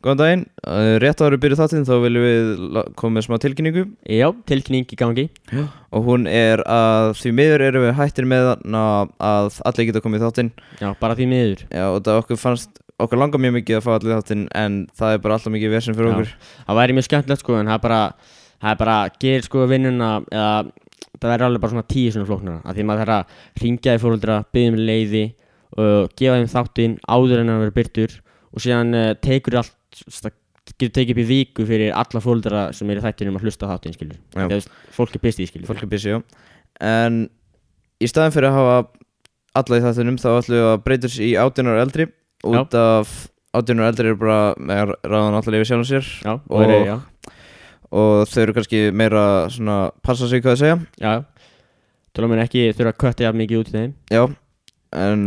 Góðan daginn, Eh, rétt áður byrjuð þáttinn þá viljum við la- koma með smá tilkynningu Já, tilkynning í gangi og hún er að því miður erum við hættir með hana að allir geta komið í þáttinn Já, bara því miður Já, og það okkur fannst, okkur langar mjög mikið að fá allir í þáttinn en það er bara alltaf mikið versin fyrir Já. okkur Það væri mjög skemmtilegt sko En það er bara Það er bara Gerir sko vinnuna Eða Það væri alveg bara svona tíu svona flóknara Af því maður þarf að Ringja í fórhaldra Byggja um leiði uh, Gefa þeim þáttinn Áður en að vera byrtur Og síðan uh, tekur allt sta- Getur tekið upp í viku fyrir alla fórhaldra Sem eru þættinum að hlusta á þáttinn skilur Já. Þegar fólk er byrst í skilur Fólk er busy, já En í staðin fyrir að hafa alla í þáttunum þá ætlum við að breyta sér í 18 ára eldri út af 18 ára eldri eru bara með ráðan allir yfir sjálfum sér Já, og, og Og- já, og þau eru kannski meira svona passa sig hvað að segja já Til að mér ekki þurfa að kötta jafn mikið út í þeim Já, en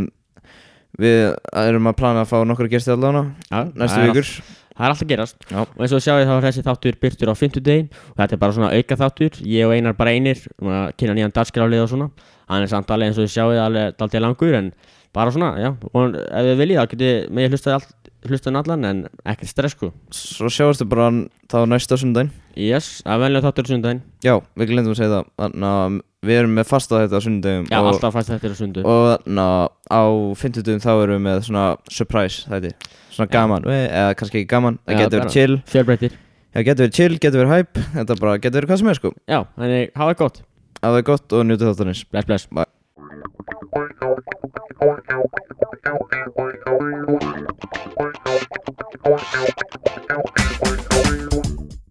við erum að plana að fá nokkra gesti allavega Já, það næstu er vikur Það er alltaf að gerast Já. Og eins og sjáu þá er þessi þáttur byrtur á 50 Og þetta er bara svona auka þáttur Ég og Einar bara einir Svona kynna nýjan dagskrálið og svona Hann er samt alveg eins og sjáu það alveg Daldið langur en bara svona já Og ef þið viljið þá getið Með ég hlustað allt Hlustaðan allan en ekkert stress sko Svo sjáumstu bara n- þá næsta sundaginn Yes, það er venlega þáttur á sundaginn Já, við glemdum að segja það Þannig að við erum með fasta þetta á sundagum Já, og, alltaf fæst þetta á sundu Og þannig að á 50 þá erum við með svona surprise þætti Svona Já. gaman, eh, eða kannski ekki gaman Það Já, getur bara- verið chill, Fjörbreytir það getur verið chill, getur verið hype Þetta bara getur verið hvað sem er sko Já, þannig hafa það gott Að það er gott og njótið þáttanins Bless, bless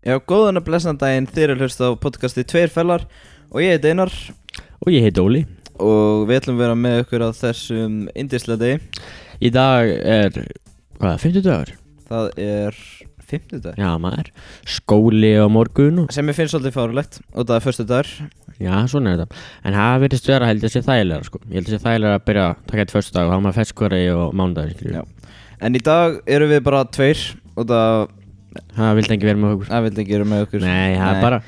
Já, góðan að blessan daginn þeir eru hlust á podcasti Tveir fellar og ég heiti Einar Og ég heiti Óli og við ætlum að vera með ykkur á þessum indislega degi Í dag er Hvað er 50 Það er 50 dag Já, maður Skóli á morgun og sem ég finnst svolítið fárulegt og það er förstu dagur Já, svona er þetta En það verðist vera held ég að sé þægilega sko. Ég held að sé þægilega að byrja að taka eitt fyrstu dag og þá er maður feskvara í og mánudagur Já. en í dag eru við bara tveir og það, Það vildi ekki vera með okkur það vil ekki vera með okkur Nei, það er bara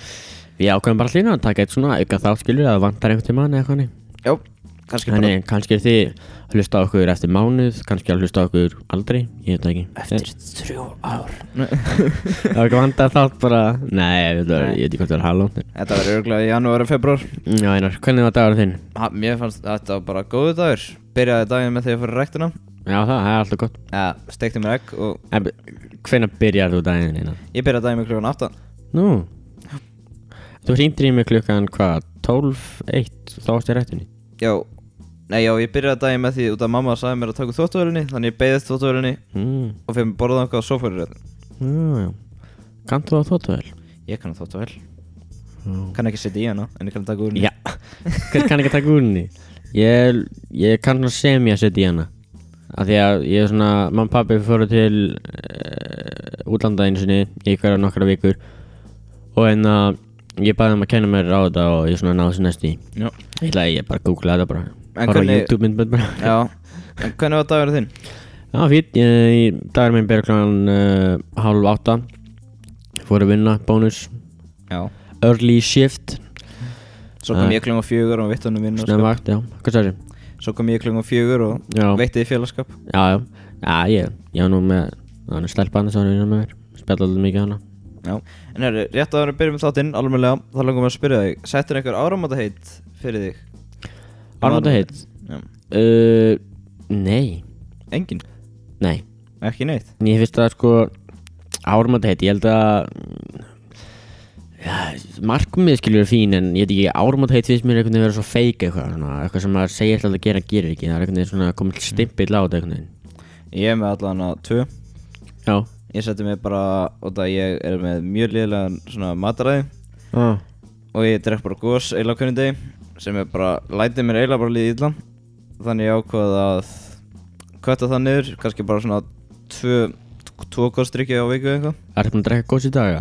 Við ákveðum bara hlýna að taka eitt svona auka þátt skilur Það vantar einhvern tímann eða eitthvað þannig. Já, kannski bara Þannig, kannski er þið að hlusta á okkur eftir mánuð Kannski að hlusta á okkur aldrei Ég veit það ekki Eftir þrjú ár Það er ekki vantar þátt bara Nei, þetta var- ég veit ekki hvort það er halvónt Þetta verður örgulega í janúar og februar Já, einar, hvernig var dagur þinn? ha, Mér fannst þetta var bara góðu dagur Byrjaði daginn með því að fara ræktina Já, það, það er alltaf gott ja, Stekti mér egg og Hvernig byrjar þú daginn einar? ég byrjaði daginn með klukkan 8 Nú Þú hringdir í mig klukkan hvað 12, 1 þá varst ég rættinni Já, nei já, ég byrjaði daginn með því út að mamma sagði mér að taka þóttuverðinni Þannig ég beðið þóttuverðinni mm. og fyrir borðað okkar á sófariræðin Já, já Kanntu það að þóttu vel? Ég kann þóttu vel Kann ekki setja í hana, en ég kann taka úr henni Já Hver kann ekki að taka úr henni? Ég, ég kann svona sem ég að setja í hana Af því að ég er svona Mamma og pabbi fóru til uh, útlanda einu sinni í hverja nokkra vikur og en að ég baði um að kenna mér á þetta og ég svona náðu sér næst í Já. Ég ætla að ég bara googla þetta bara En Bara hvernig- YouTube myndbönd bara Já, en hvernig var dagur þinn? Já, fýtt, ég, dagur minn byrja kláðan uh, hálf átta Fór að vinna, bónus Já Early shift, Svo kom Nei. ég klungum fjögur og vittunum minn og skap snöðvakt, já, hvað sagði Svo kom ég klungum fjögur og Já. veitti í félagskap Já, já, já, ég, ég var nú með, hann er stelpann þess að vinna með mér Spjalla alltaf mikið hana Já, en herru, rétt að vera að byrja með þáttinn, almennilega Þá langum við að spyrja þig, settur einhver áramata heitt fyrir þig? Armáta heitt Já uh, Nei, Engin, nei, ekki neitt ég finnst það sko Ármáta heitt, ég held að mm, Já, markmið skilur er fín en ég veit ekki ármátt heit finnst mér einhvern veginn vera svo feik eitthvað svona, eitthvað sem maður segir alltaf að gera en gerir ekki það er einhvern veginn svona komið Mm. stimpill á þetta einhvern veginn Ég er með allan að tvö Já Ég setti mig bara, og það ég er með mjög liðlegan svona mataræði ah. og ég drekk bara gos eiginlega á hvernig degi sem er bara, lætið mér eiginlega bara líðið illa þannig ég ákvað að kvötta það niður, kannski bara svona tvö, tvo gosdrykki á viku eða eitthvað Ertu búin að drekka gós í dag?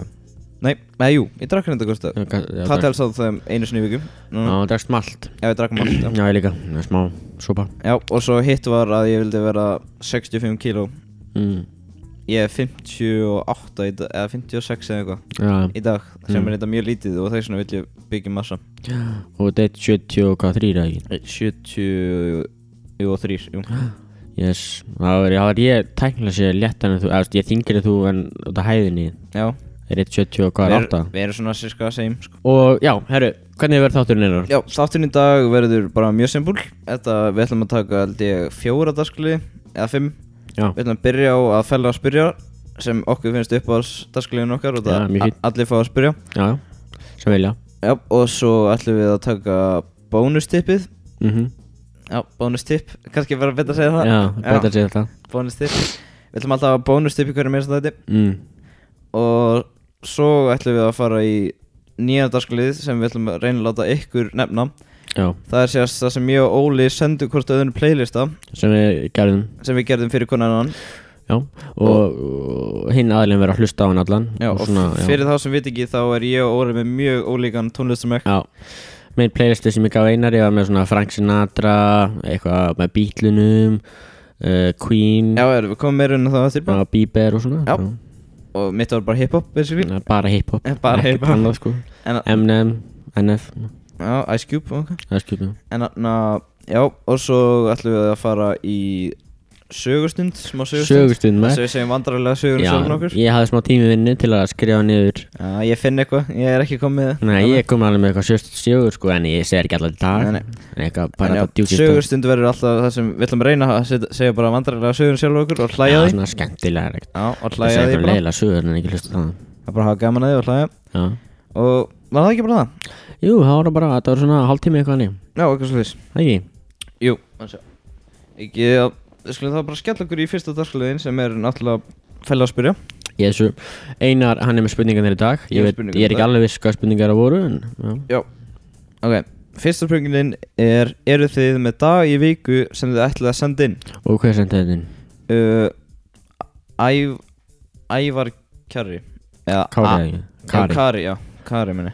Nei, eða jú, ég drakk hérna gos í dag Það Það telst á þeim einu sinni í viku Já, Núna. drekst malt Mm. Já, ég drakk malt já. Já, ég líka, Það er smá súpa Já, og svo hitt var að ég vildi vera 65 kíló mm. Ég er 58 í dag, eða 56 eða eitthvað Já, í dag sem Mm. er þetta mjög lítið og þess vegna vil ég byggja massa og þetta er 70 og hvað þrýra ekki 73, jú Yes, það er, það er ég tæknilega sér léttan en þú, eða, þú veist, ég þingir en þú en út af hæðinni Já, er 1.70 og hvað við er 8 erum- við erum svona sirka same sko. Og já, herru, hvernig verður þátturinn einar? Já, þátturinn í dag verður bara mjög simpúl Þetta, við ætlum að taka held ég fjóra dagskli eða fimm Já, Við ætlum að byrja á að fella að spyrja sem okkur finnst uppáðs dagskliðin okkar og Já, það mjög fínt. a- allir fá að spyrja já, já, sem vilja Já, og svo ætlum við að taka bónustippið mm Já, bónustipp, kannski bara betra að segja það Já, betur að segja þetta Bónustipp Við ætlum alltaf að bónustipp í hverju meins þetta mm. Og svo ætlum við að fara í nýja dagsklið sem við ætlum að reyna að láta ykkur nefna Já, Það er sérst það sem ég og Óli sendu hvort öðun playlista sem við gerðum sem við gerðum fyrir konan annan Já, og, og hinn aðlinn verður að hlusta á hann allan Já, og fyrir þá sem veit ekki þá er ég og Óli með mjög ólíkan tónlistamökk Já, með playlisti sem ég gaf einar ég var með svona Frank Sinatra eitthvað með Beatlunum uh, Queen Já, erum við komum meira inn á það eftir bara uh, Bieber og svona Já. Og mitt var bara hip-hop, basically Já, bara hiphop Eh, bara ekkert hiphop. annað, sko. En, Eminem, NF já, Ice Cube og eitthvað það er skjöpum En þarna, já, og svo ætlum við að fara í sögustund, smá sögustund Sögustund Þess með að við segjum vandrarlega sögur um Já, sjálfum okkur ég hafði smá tími vinnu til að skrifa niður Já, ég finn eitthvað, ég er ekki komið með það. Nei, ég kom alveg með eitthvað sjöst sjögur sko en ég segir ekki allar í dag Nei, nei. En eitthvað En bara já, þetta djúkist sögustund verður alltaf það sem við ætlum að reyna að setja- segja bara vandrarlega sögur um sjálfum okkur og hlæja Já, því svona skemmtilega ekkert. Já, og Það hlæja segir því eitthvað bara leiðilega sögur en ekki hlusta á það Það er bara að hafa gaman að því og hlæja Já Og var það ekki bara það? Jú, það var bara, þetta var svona hálftími eitthvað nýjum Já, eitthvað slúðis Það ekki? Jú, þannig að Ekki, já, við skulum þá bara skella okkur í fyrsta dagsliðin sem er náttúrulega fælla að spyrja Jésu, Einar, hann er með spurningar þér í dag Ég er Ég, veit, spurningar ég í er ekki dag. alveg viss hvað spurningar það voru en, já. Já Ok, fyrsta spurningin er Eru þið með dag í viku sem þið ætlið að senda inn? Og hvað er sendið þetta inn? Uh, Æv, Ævar Kjarri Eða Kári, A- ekki? Já, Kari Kari, já, Kari minni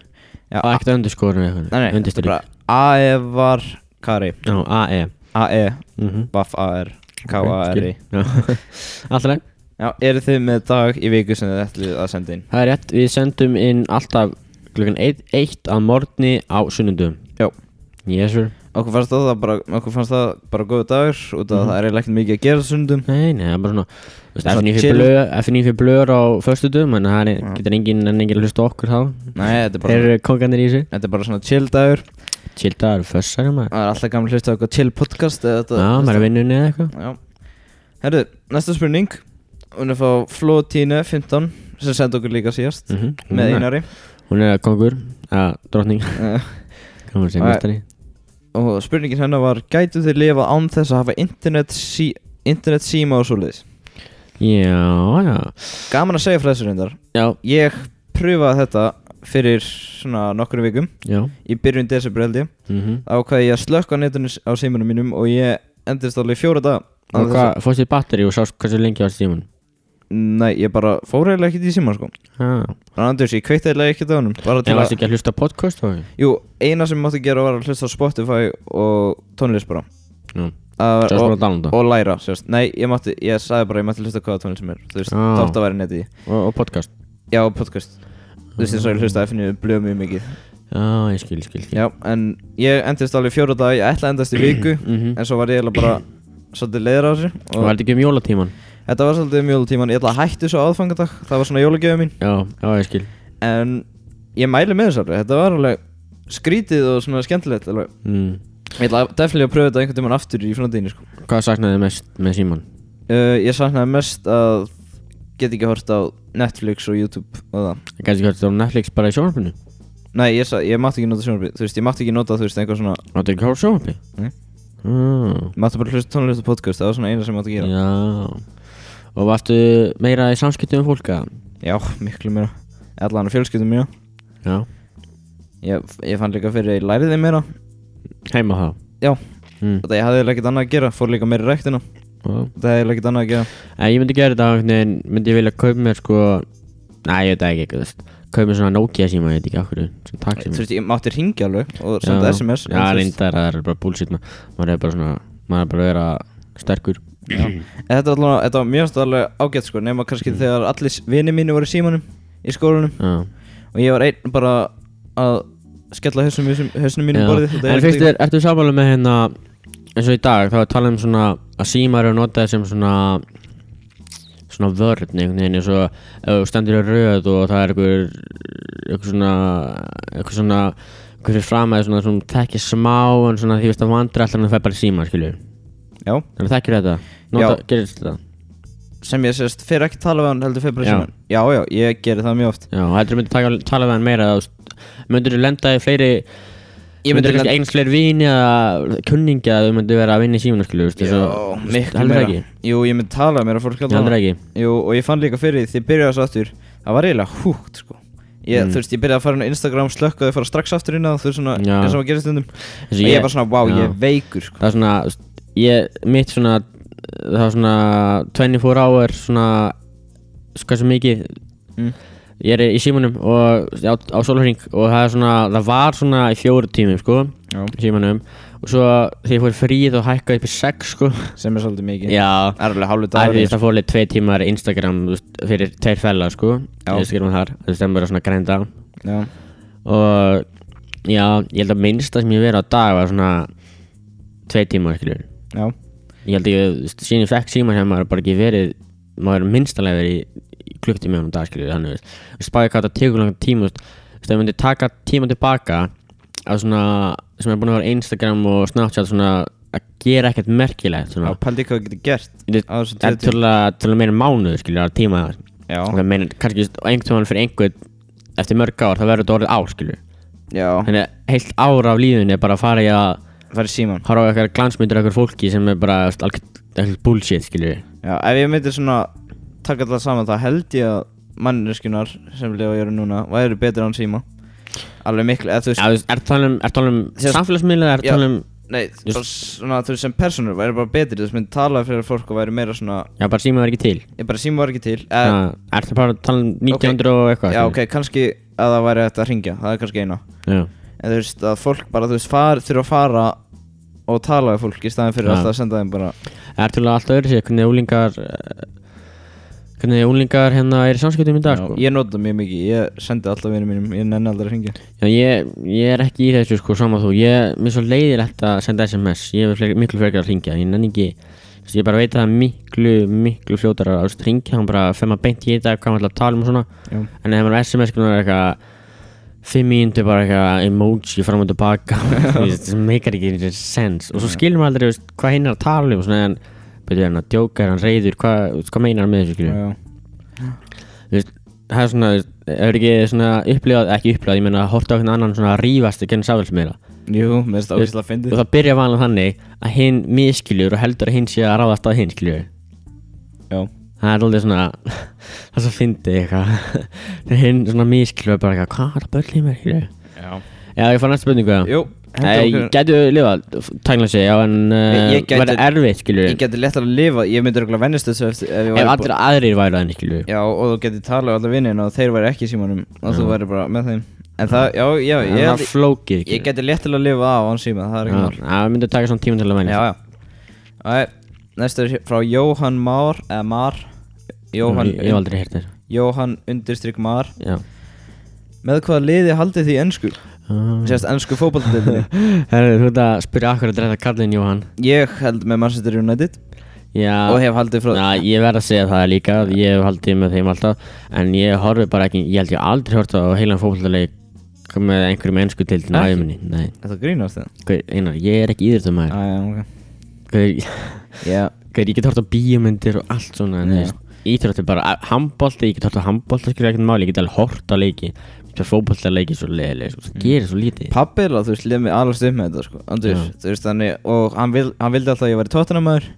Já, Það er ekkert underskorun nei, eitthvað nei, Undirstrykk. bara Ævar Kari Já, AE A-E, Mhm. Baf-A-R, K-A-R-I Já. Allt í lagi. Já, eru þið með dag í viku sem þið ætlið að senda inn? Það er rétt, við sendum inn alltaf klukkan 1 að morgni á sunnundum Já Jésu Okkur fannst það bara, okkur fannst það bara góðu dagur út af Mhm. að það er eiginlega ekkert mikið að gera sundum Nei, nei, það er bara svona þú veist, Svona FNF chill. blöð- FNF er blöður á föstudum en það er, getur enginn en enginn að hlusta á okkur þá Nei, þetta er Þeir bara, eru kongarnir í þessu þetta er bara svona chill dagur Childaður, fössari maður Það er alltaf gamla hlusta á eitthvað chill podcast eða þetta Já, maður er að vinna eða eitthvað Já Herru, næsta spurning Hún er frá Flotine 15 sem sendi okkur líka síðast Mhm. með Hún er- einari Hún er kongur, að drottning Eh, Hún er sem Nei. mestari Og spurningin hennar var Gætu þið lifa án þess að hafa internet, sí, internet síma og svoleiðis? Já, já Gaman að segja frá þessu reyndar Já, Ég pröfaði þetta fyrir svona nokkru vikum já í byrjun desember held ég mhm. ákvaði ég að slökka netinu s- á símanum mínum og ég endist alveg í fjóra daga án Og þess hvað, fórst þér batteri og sást hversu lengi var stímun? að- Nei, ég bara fór eiginlega ekkert í síman sko Já, Þannig Anders, ég kveikti eiginlega ekkert á honum Bara til en varst að ekki að hlusta á podcast þá? Jú, eina sem ég mátti gera var að hlusta á Spotify og tónlist bara Já, Það var- sást bara og, að downloada og læra, sérst Nei, ég mátti, ég sagði bara, ég mátti hlusta á hvaða tónlist sem er Þú veist, Já. þátt að væri netið í. og, og podcast Já, og podcast Þú veist, eins og ég hlusta að finnum blöð mjög mikið Já, ég skil, skil, skil Já, en ég endist alveg í fjóra daga Ég ætla að endast í viku Mhm. En svo var ég eiginlega bara svolítið leiður á þessu og- Og var þetta ekki um jólatíman? Þetta var svolítið um jólutíman, ég ætla að hætti svo aðfangadag, það var svona jólugjöðu mín Já, já, ég skil En ég mæli með þessu alveg, þetta var alveg skrítið og svona skemmtilegt alveg mm. Ég ætla að defilega að pröfa þetta einhvern tímann aftur í framtíðinni sko Hvað saknaði þið mest með síman? uh, Ég saknaði mest að get ekki hort á Netflix og YouTube og það Gæti ekki hort á Netflix bara í sjónvarpinu? Nei, ég, sa- ég mátti ekki nota sjónarbyr, þú veist, ég mátti ekki nota þú veist, eitthvað svona Máttu ekki hort á sjónvarpi? Nei. Mm. Ég mátti bara hlusta tónlist og podcast, það var svona eina sem ég mátti gera Já Og varstu meira í samskiptum við fólk að? Já, miklu meira, allan á fjölskyldum mína Já ég, ég fann líka fyrir að ég læriði meira Heima þá Já, mm. þetta ég hafði eiginlega ekkert annað að gera, fór líka meira í ræktina Já. Þetta hefði ekkert annað að gera En ég myndi gera þetta á einhvern veginn Myndi ég vilja kaupa mér sko Nei, ég veit það ekki ekki, þú veist Kaupa mér svona Nokia síma, ég veit ekki okkur Svona takk Þú veist, ég mátti ringja alveg og senda Já. SMS en Já, þú veist- reyndar, það er bara bullshit ma- Maður er bara svona Maður er bara að vera sterkur En Þetta var allavega- þetta var mjög alveg ágætt sko nema Mm. kannski þegar allir vini mínu voru í símanum í skólanum Já og ég var einn bara að skella hausnum, hausnum, hausnum mínum Já. borðið þetta er En ekkert finnst þér, ertu sammála með hérna eins og í dag þá er talað um svona að símar eru notaði sem svona svona vörn einhvern veginn eins og ef þú stendur í röð og það er einhver einhver svona einhver svona einhver fyrir framæði svona sem tekja smá en svona því veist að vandra alltaf en það fær bara í símar skilju Já, þannig að þekkir þetta Já. nota, gerist þetta sem ég sérst, fyrir ekki tala við hann heldur fyrir bara Já. síman Já, já, ég geri það mjög oft já, heldur þú myndir taka, tala við hann meira eða, þú veist, myndir þú lenda í fleiri Ég ég myndi myndir kannski eignast fleiri vini eða kunningi að þú myndir vera að vinna í símar skilju veist, Já, þessu- miklu heldur meira ekki Jú, ég myndi tala meira fólk allan heldur ekki Jú, og ég fann líka fyrir því þið byrjaði þessu aftur Það var eiginlega húgt, sko Ég, Mm. þú veist, ég byrjaði að fara inn á Instagram, slökkaði, fara strax aftur inn á það, þú veist svona, Já. eins og maður gerir stundum Þessi, Og ég er bara svona, wow, ég Já. er veikur, sko það er svona þú veist, ég, mitt svona það er svona 24 hour svona hvað sem mikið Mm. ég er í símanum og á, á sólhring og það er svona það var svona í fjóru tímum sko Já. í símanum og svo þegar ég fór fríð og hækkaði upp í 6 sko Sem er svolítið mikið já Það er alveg hálfu Það er dagur því að það fór leið tvei tímar Instagram þú veist, fyrir tveir fellar sko Já. Instagram þar, þú veist, það er bara svona grænda Já, og já, ég held að minnsta sem ég hef verið á dag var svona tvei tímar, skiljur já, Ég held ég, þú veist, síðan ég fekk síma sem maður bara ekki verið maður er minnstalega verið í klukktími á dag skilur þannig veist Ég spáði hvað það tekur langan tíma þú veist, þú veist, ef ég myndi taka tíma tilbaka að svona sem er búin að vera á Instagram og Snapchat svona að gera ekkert merkilegt já, svona pældi hvað þú getur gert Ég veit- á þessu en tíu tölulega tölulega meira en mánuð skilur að tíma Já, það meina kannski þú veist, einhvern tímann fyrir einhvern eftir mörg ár það verður þetta orðið ár skilur já, þannig að heilt ár af lífinni er bara að fara í að það er síman horfa á eitthvað glansmyndir af eitthvað fólki sem er bara þú veist, algjört- algjört bullshit skilur Já, ef ég myndi svona taka alltaf saman þá held ég að manneskunar sem lifa að gera núna væri betur án síma alveg miklu, eða þú veist Já, þú veist, ertu talað um, er talað um Sérst- samfélagsmiðla eða ertu Já. talað um, nei, Just- bara svona þú veist sem personur væri bara betri, þú veist myndi tala fyrir fólk og væri meira svona, já bara síma verið ekki til ég bara síma var ekki til uh, eða, Ertu bara að tala um 1900 og eitthvað já ok, kannski að það væri hægt að hringja, það er kannski eina já. en þú veist að fólk bara, þú veist, far, þurfa að fara og tala við fólk í staðin fyrir Já. alltaf að senda þeim bara Ertu talað alltaf öðru sér, hvernig úlingar hvernig úlingar hérna er í samskiptum í dag Já, sko ég nota það mjög mikið, ég sendi alltaf vinum mínum, ég nenni aldrei að hringja Já, ég, ég er ekki í þessu sko sama þú Ég, mér er svo leiðilegt að senda SMS Ég er fleiri, miklu frekar að ringja Ég nenni ekki, þú veist, ég bara veit að það er miklu, miklu fljótar að ringja Hann bara fer maður beint í þetta, hvað maður ætlar að tala um og svona Já. En ef maður er SMS sko, er eitthvað Fimm mínútur bara eitthvað emoji fram og tilbaka Þú veist, Það meikar ekki sens Og svo skilur maður aldrei, þú veist, hvað hinn er að tala um og svona, en, Betur er hann að djóka, er hann reyður Hvað, þú veist, hvað meinar hann með þessu skilur Já. Þú veist, það er svona, þú veist, hefur ekki svona upplifað, ekki upplifað, ég meina horta á hvernig annan svona rífast genn sáfélsmiðla Jú, mér finnst það ógeðslega fyndið og það byrja vanlega þannig að hinn miskiljur og heldur að hinn sé að ráðast á hinn skiljur Já, það er alveg svona, það er svo fyndið eitthvað þegar hinn svona miskiljur er bara eitthvað, hvað er það börlið mér skiljur já Já, ég fara næsta spurningu það Jú, Ég okkur- gætu lifað, tækna sig, já en uh, Ég- ég gæti- verða erfitt skiljur Ég geti lettar að lifa, ég myndi örgulega vennist þessu eftir, ef ég ef væri allir aðrir væru þannig skiljur Já, og þú geti talað við alla vinnina og þeir væri ekki í símanum og þú væri bara með þeim En það, já, já, það ég, er held- flókið ég skilurðu. geti lettar að lifa af án síma, það er Já, ekki mál það myndi taka svona tíma til að venja Já, já Æ, Næstu er hér- frá Jóhann Már, eða Már Jóhann, Ég ég hef aldrei hert þér Jóhann undirstrykk Már Já Með hvaða liði haldið því ennsku? Mm. Sérst ennsku fótballtildinni Herru, þú ert að spyrja akkur að dreita kallinn Jóhann Ég held með Manchester United Já Og hef haldið frá Já, ég verð að segja það líka Ég hef haldið með þeim alltaf En ég horfi bara ekki Ég held ég aldrei hort á heilan fótbollaleik Með einhverjum ennsku til Ekki? til næminni Nei, Þetta grínast það? hver, einar, ég er ekki íðrutumæður Æ, ok Hver, Já, hver, ég get hort á bíómyndir og allt svona Já. En þú veist, íþróttir bara Hambolti, ég get hort á hambolti Það skilur ekkert máli, ég get alveg hort á leiki Það fótbollaleiki svo leiðileg sko, Mm. Það gerir svo lítið Pappila, þú veist, lef mig alveg stuð með þetta, sko Andrés, Já. þú veist, þannig, og hann, vil, hann vildi alltaf að ég væri tóttunamaður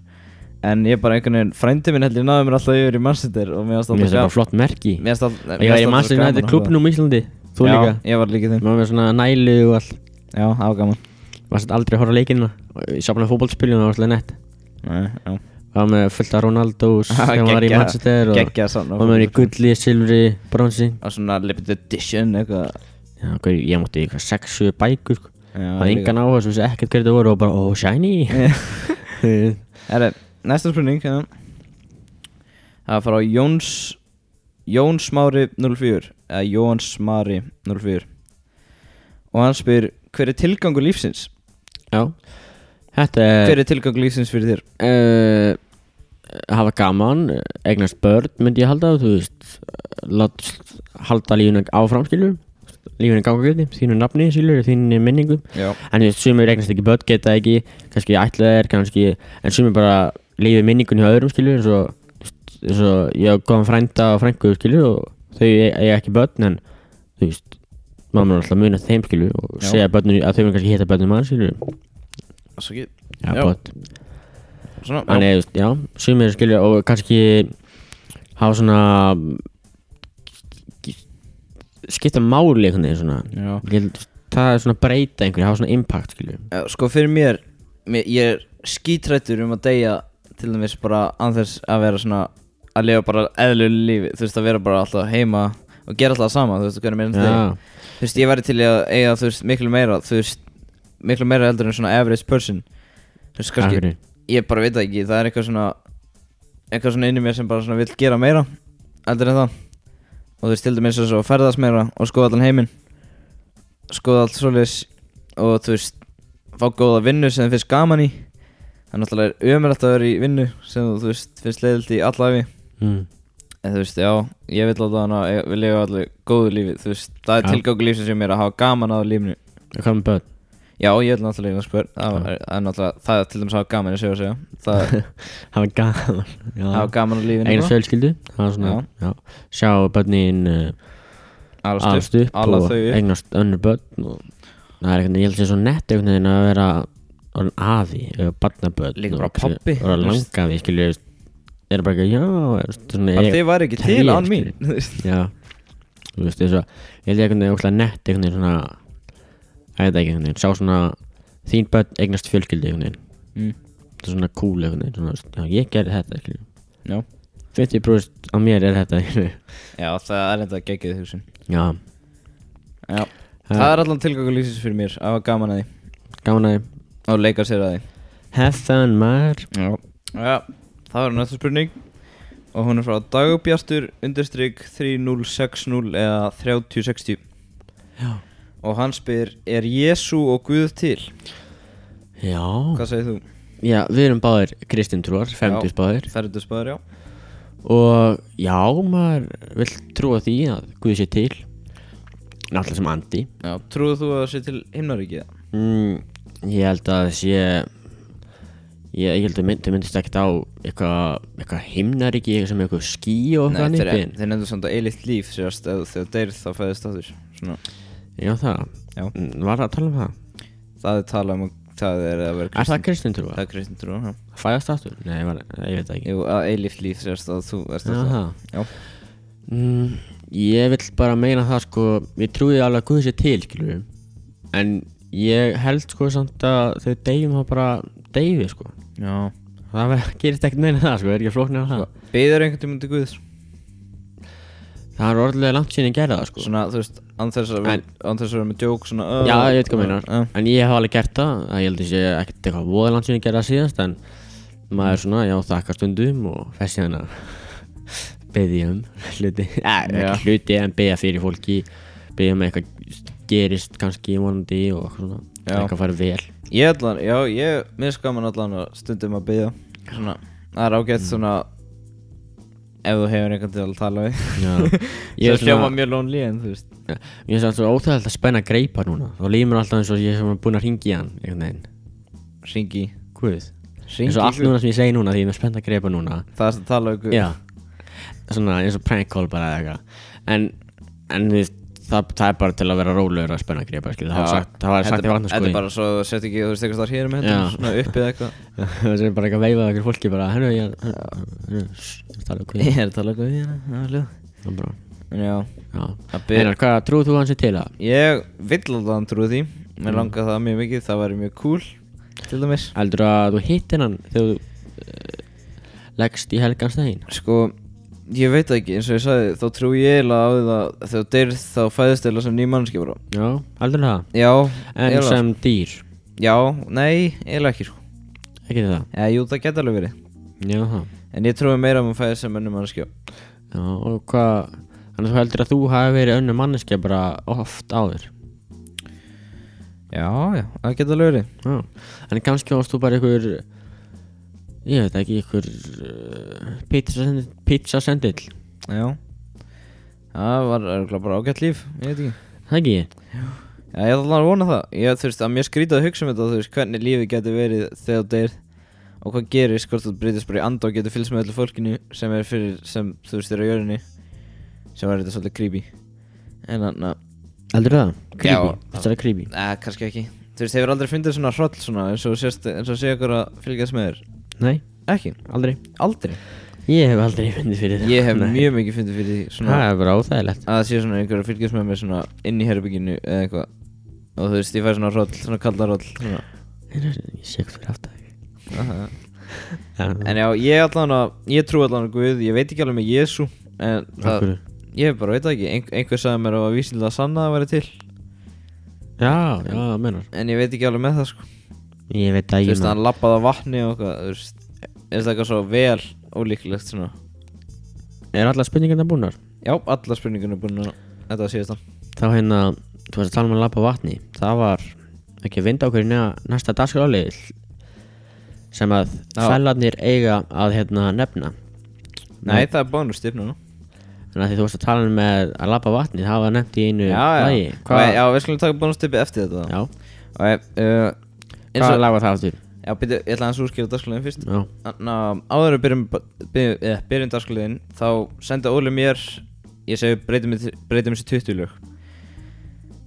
En ég bara einhvern veginn, frændi minn held ég náði mér alltaf yfir í Manchester Og mér varst Mér alltaf finnst það bara flott merki Mér varst alltaf Ég var í Manchester United klubnum í Íslandi Þú Já, líka ég var líka í þeim Mér var svona nælu og allt Já, það var gaman Var satt aldrei að horfa á leikina Ég sá bara fótbollspilinu og var alltaf nett Nei, já Var með fullt af Ronaldos Þegar hann var í Geggjað- Manchester og geggjað safn á Var með í fótbolta. gulli, silfri, bronsi Á svona limited edition, eitthvað Já, hvað, ég mátti eitthvað sexu bækur sko. Já, Það var líka. engan áhuga sem vissi ekkert hverju þetta voru og bara, ó, shiny Herre, næsta spurning já. Það er frá Jóns Jóns Mári 04 eða Jóns Mári 04 og hann spyr hver er tilgangur lífsins? Já Þetta er Hver er tilgang lífsins fyrir þér? uh, hafa gaman eignast börn myndi ég halda þú veist lát, halda lífuna áfram skilur lífuna ganga guði, þínu nafni skilur þínu minningu, Já en þú veist sumir eignast ekki börn geta ekki, kannski ætla er kannski, en sumir bara lífi minningun hjá öðrum skilur eins og, þú veist, eins og ég hafa góðan frænda og frængu skilur og þau e, eiga ekki börn en þú veist mamma er alltaf munið eftir þeim skilur og Já. segja börnum að þau verður kannski hitta börnum mann skilur Svo ekki já, Já. börn Svona Þannig, þú veist, já, sumir skilja og kannski hafa svona skipta máli einhvern veginn svona Já Ég held, það er svona breyta einhverju, hafa svona impact skilju Já, Sko fyrir mér, mér Ég er skítrættur um að deyja Til dæmis bara anþess að vera svona Að lifa bara eðlulegu lífi Þú veist að vera bara alltaf heima Og gera alltaf sama Þú veist hvernig mér ennast Já, Þú veist ég væri til í að eiga þú veist miklu meira Þú veist miklu meira heldur en svona average person Þú veist kannski akkurri Ég bara veit það ekki Það er eitthvað svona Eitthvað svona inni í mér sem bara svona vill gera meira Eldur en það Og þú veist til dæmis eins og ferðast meira Og skoða allan heiminn Skoða allt svoleiðis Og þú veist Fá góða vinnu sem þið finnst gaman í Það náttúrulega er ömurlegt að vera í vinnu Sem þú veist finnst leiðilt í allæfi mm. En þú veist já Ég vil láta hana Við lifa allir góðu lífi Þú veist það er ja. Já. tilgangu lífsins sem er að hafa gaman á lífinu Hvað með börn? Já ég vil náttúrulega eiga spör Það Já. var- það er náttúrulega Það er til dæmis að hafa gaman í sig og segja Það Hafa gaman hafa gaman á lífinu sko. Einar fjölskyldu, hafa svona, já, sjá börnin uh, Alast alast upp ala og þau upp. eignast önnur börn og það er einhvern veginn, ég held að sé svo nett einhvern veginn að vera orðin afi eða barnabörn Líka og bara kannski pabbi, vera þú veist. langafi, skilju, er bara ekki, já, veist, svona Bara þið væri ekki til Ég- án mín þú veist. já, þú veist, þess að ég held ég einhvern veginn óslega nett einhvern veginn svona ég veit það ekki einhvern veginn, sjá svona þín börn eignast fjölskyldi einhvern veginn Mm. það er svona cool einhvern veginn, svona, veist, já, ég gerði þetta, skilju Já. 50% á mér er þetta, skilju Já, það er enda geggið hugsun já, Já, það er allan tilgangu lýsins fyrir mér að hafa gaman að því gaman að þið og leika sér að því have fun, maður Já, Já það var næsta spurning og hún er frá dagbjartur undirstrykk 3060 eða 3060 Já. og hann spyr er Jésu og Guð til? já, Hvað segir þú? já, við erum báðir kristintrúar, femtis báðir Ferðusbæður, já og já, maður vill trúa því að Guð sé til náttúrulega sem andi Já, trúðu þú að það sé til himnaríkið? mm, ég held að það sé ég, ég held að mynd, þau myndist ekkert á eitthvað eitthvað himnaríki, eitthvað sem eitthvað ský og Nei, eitthvað þeir, nýttin þeir nefndu samt að eilitt líf sérst, ef þegar deyrð þá fæðist aftur Svona já, það, Já. Mm, var það að tala um það Það er talað um að það er að vera er kristin það kristintrúa, Það er kristin trú, já fæðast aftur nei, var, ég veit það ekki Jú, að eilíft líf sérst að þú ert Já, að það það. Já, Mm, ég vill bara meina það sko Ég trúi alveg að Guð sé til skilur En ég held sko samt að þau deyjum þá bara deyfi sko já Það ver- gerist ekkert meina það sko, er ekki flóknir að það Beður einhvern tímann til Guðs Það er orðlega langt síðan ég gerði það sko Svona, þú veist, án þess að En- vera án þess að vera með djók svona uh, Já, ég veit hvað meinar uh, En ég hef alveg gert það, það ég held að sé ekkert eitthvað voða langt síðan ég gerði það síðast En maður er svona, já þakka stundum og fessi hann að beðja um hluti eh, Já. Ekki hluti en beðja fyrir fólki Beðja um að eitthvað gerist kannski vonandi og eitthvað svona Já. Eitthvað fara vel Ég allan, já, ég Mér skaman allan að stundum að beða Svona, það er ágætt Mm. svona Ef þú hefur einhvern til að tala við Já, ég Ég er er hljóma svona, mjög lonely en þú veist ég er svona svo óþægilegt að spenna greipa núna Þá líður mér alltaf eins og ég er búin að ringi í hann einhvern veginn, Ringi guð Eins Ringi og allt núna sem ég segi núna því ég er með spenna greipa núna Það er að tala við Guð Já, svona eins og prank call bara eða eitthvað En, en við, það, það er bara til að vera rólegur að spenna greipa skil. Það var sagt, það var sagt í vatna Þetta er sko bara svo, þú sett ekki, þú veist, eitthvað þar hér með Já. þetta Svona uppið eitthvað Það er bara eitthvað veifað okkur fólki bara Hennu, ég er, hennu, það er okkur Ég er að tala við hérna, það er hljóð Það er bara, En já, já að byrja Einar, hvað trúið þú hans í til það? Ég vill alltaf hann trúi því Mér Mm. langar það mjög mikið, það væri mjög cool Til dæmis Heldur að þú hittir hann þegar þú uh, leggst í helgansdegin? Sko, ég veit það ekki, eins og ég sagði Þá trúi ég eiginlega á því að þegar þú deyrð Þá fæðist eiginlega sem ný mannski bara Já, aldrei það Já, En eiginlega sem dýr, Já, nei, eiginlega ekki sko ekki það Eða, jú, það geta alveg verið Já, það En ég trúi meira um að fæðist sem önnum mannski Já, og hvað Þannig að þú heldur að þú hafi verið önnur manneskja bara oft áður Já, já, það geta alveg verið Já, en kannski varst þú bara ykkur ég veit ekki, ykkur uh, pizzasendi- pizzasendill Já Það var örugglega bara ágætt líf, ég veit ekki það ekki ég? Já, ég ætla alveg að vona það Ég þú veist að mér skrýta að hugsa um þetta Þú veist hvernig lífið getur verið þegar þú deyr Og hvað gerist, hvort þú breytist bara í anda Og getur fylgst með öllu fólkinu sem er fyrir Sem þú veist er á jörðinni Sem var þetta svolítið creepy En þannig að, Heldur það? Já. Creepy, þetta er creepy neða, kannski ekki Þú veist, hefur aldrei fundið svona hroll svona eins og, sést, eins og sé ykkur að fylgjast með þér Nei, Ekki, aldrei aldrei Ég hef aldrei fundið fyrir það Ég hef Nei. mjög mikið fundið fyrir því svona, Það er bara óþægilegt að það sé svona einhver að fylgjast með mér svona inn í herbygginu eða eitthvað og þú veist ég fæ svona roll, svona kalda roll svona. Ég sé hvað fyrir aftur Aha. En en já, ég allan að, ég trú allan að Guð ég veit ekki alveg með Jésu en það, Akkur ég bara veit það ekki, Ein, einhver sagði mér að vísinlega sanna að vera til Já, já, það menar en ég veit ekki alveg með það sko Ég veit að þú ég veist, man hann lappaði á vatni og eitthvað þú veist, er það eitthvað svo vel ólíklegt svona Er allar spurningarna búnar? já, alla spurningunum er búin að þetta var síðast hann Þá hérna, þú varst að tala um að lappa vatni Það var ekki að vinda okkur í neða næsta dagskráliðil sem að Já. fællarnir eiga að hérna nefna nei, það er bónustip núna Þannig að því þú varst að tala um með að lappa vatni það var nefnt í einu já, lagi já, Hvað, já, við skulum taka bónustipi eftir þetta já. Ok, uh, eins Hvað og, lag var það aftur? já, byrju, ég ætla aðeins að úrskýra dagskóliðin fyrst Já, Þannig að áður en við byrjum, byrjum, eh, byrjum dagskóliðin Þá senda Óli mér, ég segi breytum, í- breytum þessi 20 lög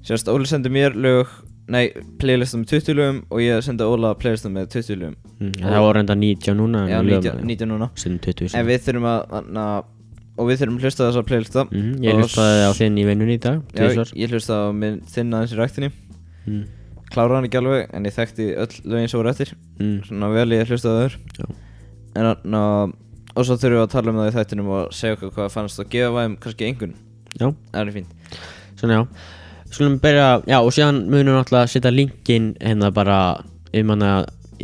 Sérst, Óli sendi mér lög, nei, playlistum með 20 lögum Og ég senda Óla playlistum með 20 lögum Mm, það voru enda 90 núna en Já, við lögum 19, það. 19 núna Stundum 20 En sem. við þurfum að, þannig að, og við þurfum að hlusta á þessa playlista mm, Ég Og hlustaði á þinn í vinnunni í dag Já, tvisvar. ég hlusta á minn þinn aðeins í ræktinni mm, Klára hann ekki alveg, en ég þekkti öll lögin sem voru eftir mm, Svona vel ég hlustaði á þau já. En þarna Og svo þurfum við að tala um það í þættinum og segja okkur hvað fannst og gefa þeim kannski engun já, Það er fínt svona já Skulum byrja, já og síðan munum við náttúrulega setja linkin hérna bara um hana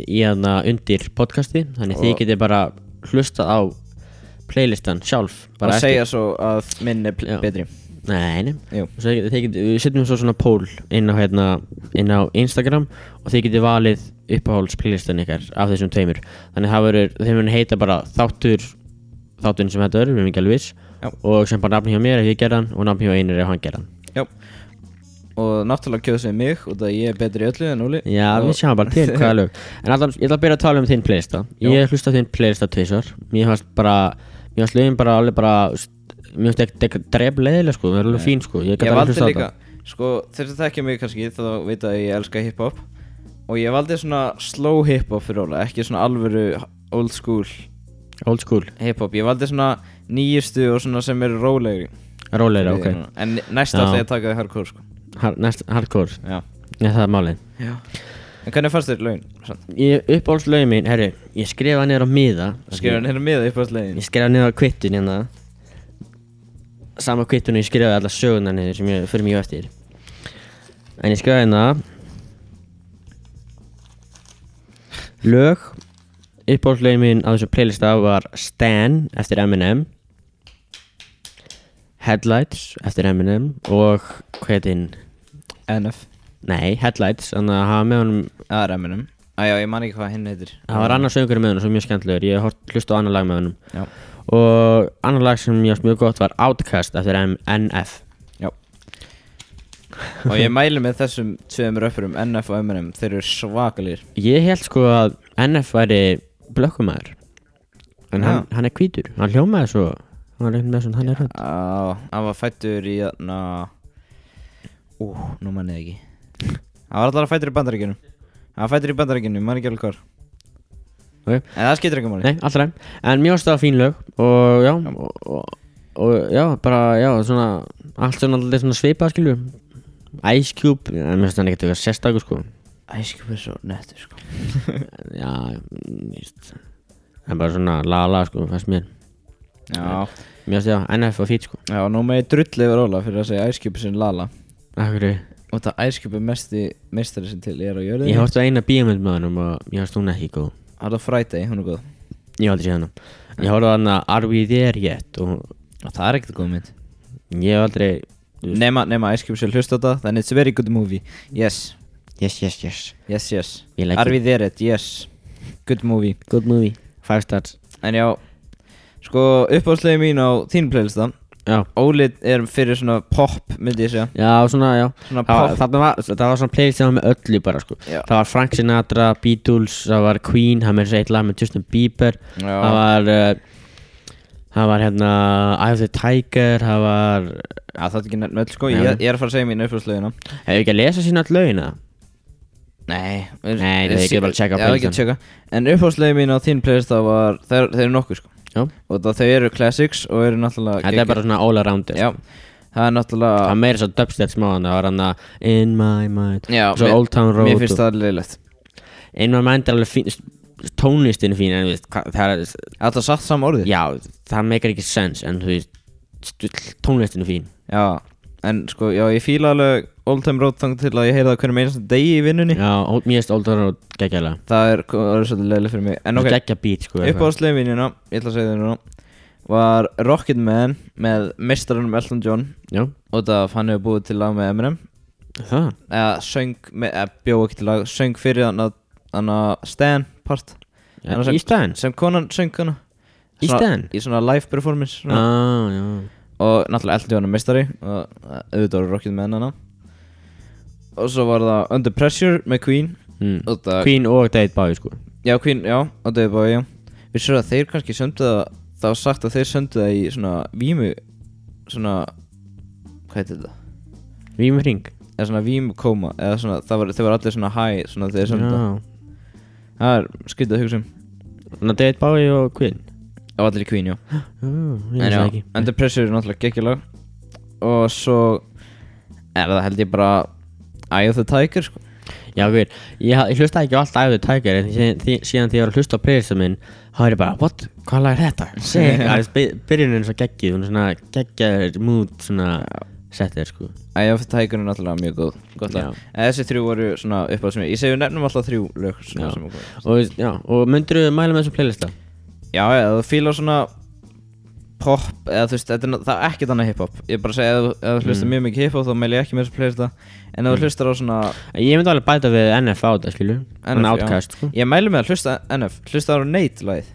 í hana undir podcasti Þannig þið Og- getið bara hlustað á playlistan sjálf bara Og segja svo að minn er pl- Já. betri Nei, nei Jú. Og svo þið getið- þið getið- Við setjum svo svona pól inn á, hérna, inn á Instagram og þið getið valið uppáhalds playlistan ykkar af þessum tveimur Þannig það verður, þeim mun heita bara þáttur þátturinn sem þetta er, við erum ekki alveg viss Já. og sem bara nafni hjá mér ef ég gerðan og nafni hjá einir ef hann gerðan Já Og náttúrulega kjóðu sig mig út af að ég er betri í öllu en Óli Já, og, við sjáum bara til hvaða lög En alltaf, ég ætla að byrja að tala um þinn playlista Ég hlusta þinn playlista tvisar Mér fannst bara, mér fannst lögin bara alveg bara st- Mér fannst ekki- ekki dref leðilega sko, það er alveg fín sko Ég Ég gæti alveg valdi hlusta á líka þetta Sko þeir sem þekkja mig kannski þá veit að ég elska hiphop Og ég valdi svona slow hiphop fyrir Óla Ekki svona alvöru old school Old school, hiphop Ég valdi svona nýjustu og svona sem eru rólegri róleira, ok En næst Já. alltaf ég að taka því hardcore sko Har, næst, Hardcore, Já ja, það er málið Já En hvernig fannst þér laun? samt? Ég uppáhalds lögin mín, herri Ég skrifa niður á miða Skrifa hann hérna með upp á slegin Ég skrifa niður á kvittun hérna Sama kvittun og ég skrifaði alla söguna niður sem ég fyrir mjög eftir En ég skrifaði hérna Lög Uppáhaldslögin mín á þessu playlista var Stan eftir Eminem Headlights eftir Eminem og hvað heit hinn? NF Nei, Headlights, þannig að hafa með honum Það er Eminem Æjá, Ah, ég man ekki hvað hinn heitir Það var annar söngur með honum sem var mjög skemmtilegur Ég hort hlusta á annar lag með honum Já Og annar lag sem ég ást mjög gott var Outcast eftir M NF Já Og ég mæli með þessum tveim röppurum NF og Eminem Þeir eru svakalir Ég held sko að NF væri blökkumæður En Já. hann, hann er hvítur Hann hljómaði svo Hann var einhvern veginn svona, hann er rödd Á, hann var fættur í Na Ú, nú man ég ekki Hann var alltaf fættur í bandaríkjunum Hann var fættur í bandaríkjunum, man ekki alveg hvar Ok. En það skiptir ekki máli Nei, alltaf En mjög ástæða fín lög Og já og, og, og já, bara já, svona Allt svona alltaf svona svipað skilju Ice Cube En mér finnst hann ekkert eitthvað sérstakur sko Æskupið svo nettur sko Já, mm, víst Það er bara svona lala sko, fannst mér Já Mér finnst já, NF var fít sko Já, nú með ég drull yfir Óla fyrir að segja æskupið sinni Lala Akkur, Og það æskjöp er mesti meistari sem til er á jörðinni ég horfði á eina bíómynd með honum og mér finnst hún ekki góð Alla Friday, hún er góð Ég hef aldrei séð hana Ég horfði á hana Are We There Yet og Og það er ekkert góð mynd ég hef aldrei Nema, nema æskjöp sér hlusta á þetta Then it's a very good movie Yes Yes, yes, yes Yes, yes Ég like Are we there yet? Yes Good movie Good movie Five stars En já Sko uppáðslegin mín á þín playlista Já Óli er fyrir svona pop myndi ég segja Já, svona, já Svona Það var, pop þarna var, það var svona playlist sem var með öllu bara sko Já. Það var Frank Sinatra, Beatles, það var Queen, það með eitt lag með Justin Bieber Já. Það var, uh, það var hérna Eye of the Tiger, það var Já það er ekki nefn öll sko Nei, ég, nei. ég er að fara að segja mín uppáðslegina Hefur ekki að lesa sína öll lögin eða? Nei Nei, það er ekki bara að Já checka ekki að playlistann. checka En uppáðslegin mín á þín playlista var Þeir, þeir eru nokkuð sko Já Og það, þau eru classics og eru náttúrulega Þetta er bara svona all around Já Það er náttúrulega Það var meira svo dubstep smáðan, það var hann að In my mind Já Svo mér- Old Town Road Mér finnst og- það leiðilegt In my mind er alveg fín, tónlistin er fín en þú veist, hva, það er Alltaf satt saman orðið Já, það meikar ekki sens en þú veist, stu- tónlistin er fín Já, en sko, já, ég fíla alveg Old Time Road þang til að ég heyrði það hverjum einasta degi í vinnunni Já, ó- mér finnst Old Town Road geggjalega Það er, það er svolítið leiðilegt fyrir mig En ok, Geggja beat sko eitthvað. uppáðslegin mínina, ég ætla að segja þér núna Var Rocket Man með meistarunum Elton John Já, Og það hann hefur búið til lag með Eminem það Eða söng, með- eða bjóð ekki til lag Söng fyrir hann að, hann að Stan part ja, Annars- Í staðinn Sem konan söng hana Í Svona- staðinn? Í svona live performance svona. ah, já. og náttúrulega Elton John er meistari og uh, auðvitað var Rocket með hana og svo var það Under Pressure með Queen Mm. og það, Queen og David Bowie sko já Queen, já, og David Bowie, já við sér að þeir kannski söndu það það var sagt að þeir söndu það í svona vímu svona, hvað heitir þetta Vímur Ring eða svona vímu koma eða svona, það var, þeir var allir svona high svona þegar þeir söndu það Já. það er skytið að hugsa um Þannig að David Bowie og Queen og allir í Queen, já Já, ég En veist já, það ekki Under Pressure er náttúrulega geggjulag og svo er það held ég bara Eye of the Tiger, sko Já, guður, ég, ég hlusta ekki á allt æfðu tækjar en síðan, því- síðan því ég var að hlusta á playlistu minn þá er ég bara, what, hvað lag er þetta? Seg, það er by- byrjunin er svo geggið hún er svona geggjaður mood svona settir sko Æ, já, Tiger er náttúrulega mjög góð, gott lag Já. En þessi þrjú voru svona upp á sem ég Ég segi við nefnum alltaf þrjú lög svona Já. sem okkur og, já, og myndir þú mæla með þessum playlista? Já, já, þú fílar svona pop eða þú veist, þetta er, ná- það er ekkert annað hiphop Ég bara segi, ef, ef þú Mm. hlustar mjög mikið hiphop þá meil ég ekki með þessu playlista En ef þú hlustar á svona Ég myndi alveg bæta við NF á þetta skilu NF, já. Outcast sko Ég mælu með að hlusta NF, hlusta á Nate lagið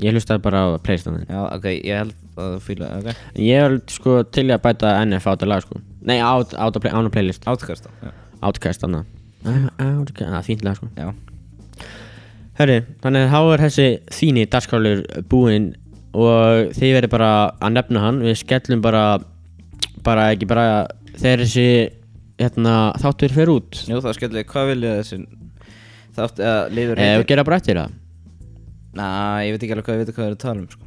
Ég hlustaði bara á playlistan þinn Já, ok, ég held að þú fíla, ok Ég er sko til í að bæta NF á þetta lag sko Nei, á á þetta play, ána playlist Átkast já. Outcast annað Outcast, það er fínt lag sko já, Herri, þannig að þá er þessi þíni dagskálur búinn og þið verður bara að nefna hann við skellum bara bara ekki bara þegar þessi hérna, þáttur fer út Jú, það skellir, hvað vil ég þessi Þátt, eða, liður eða við gera bara eftir það Næ, ég veit ekki alveg hvað, ég veit hvað það er að tala um, sko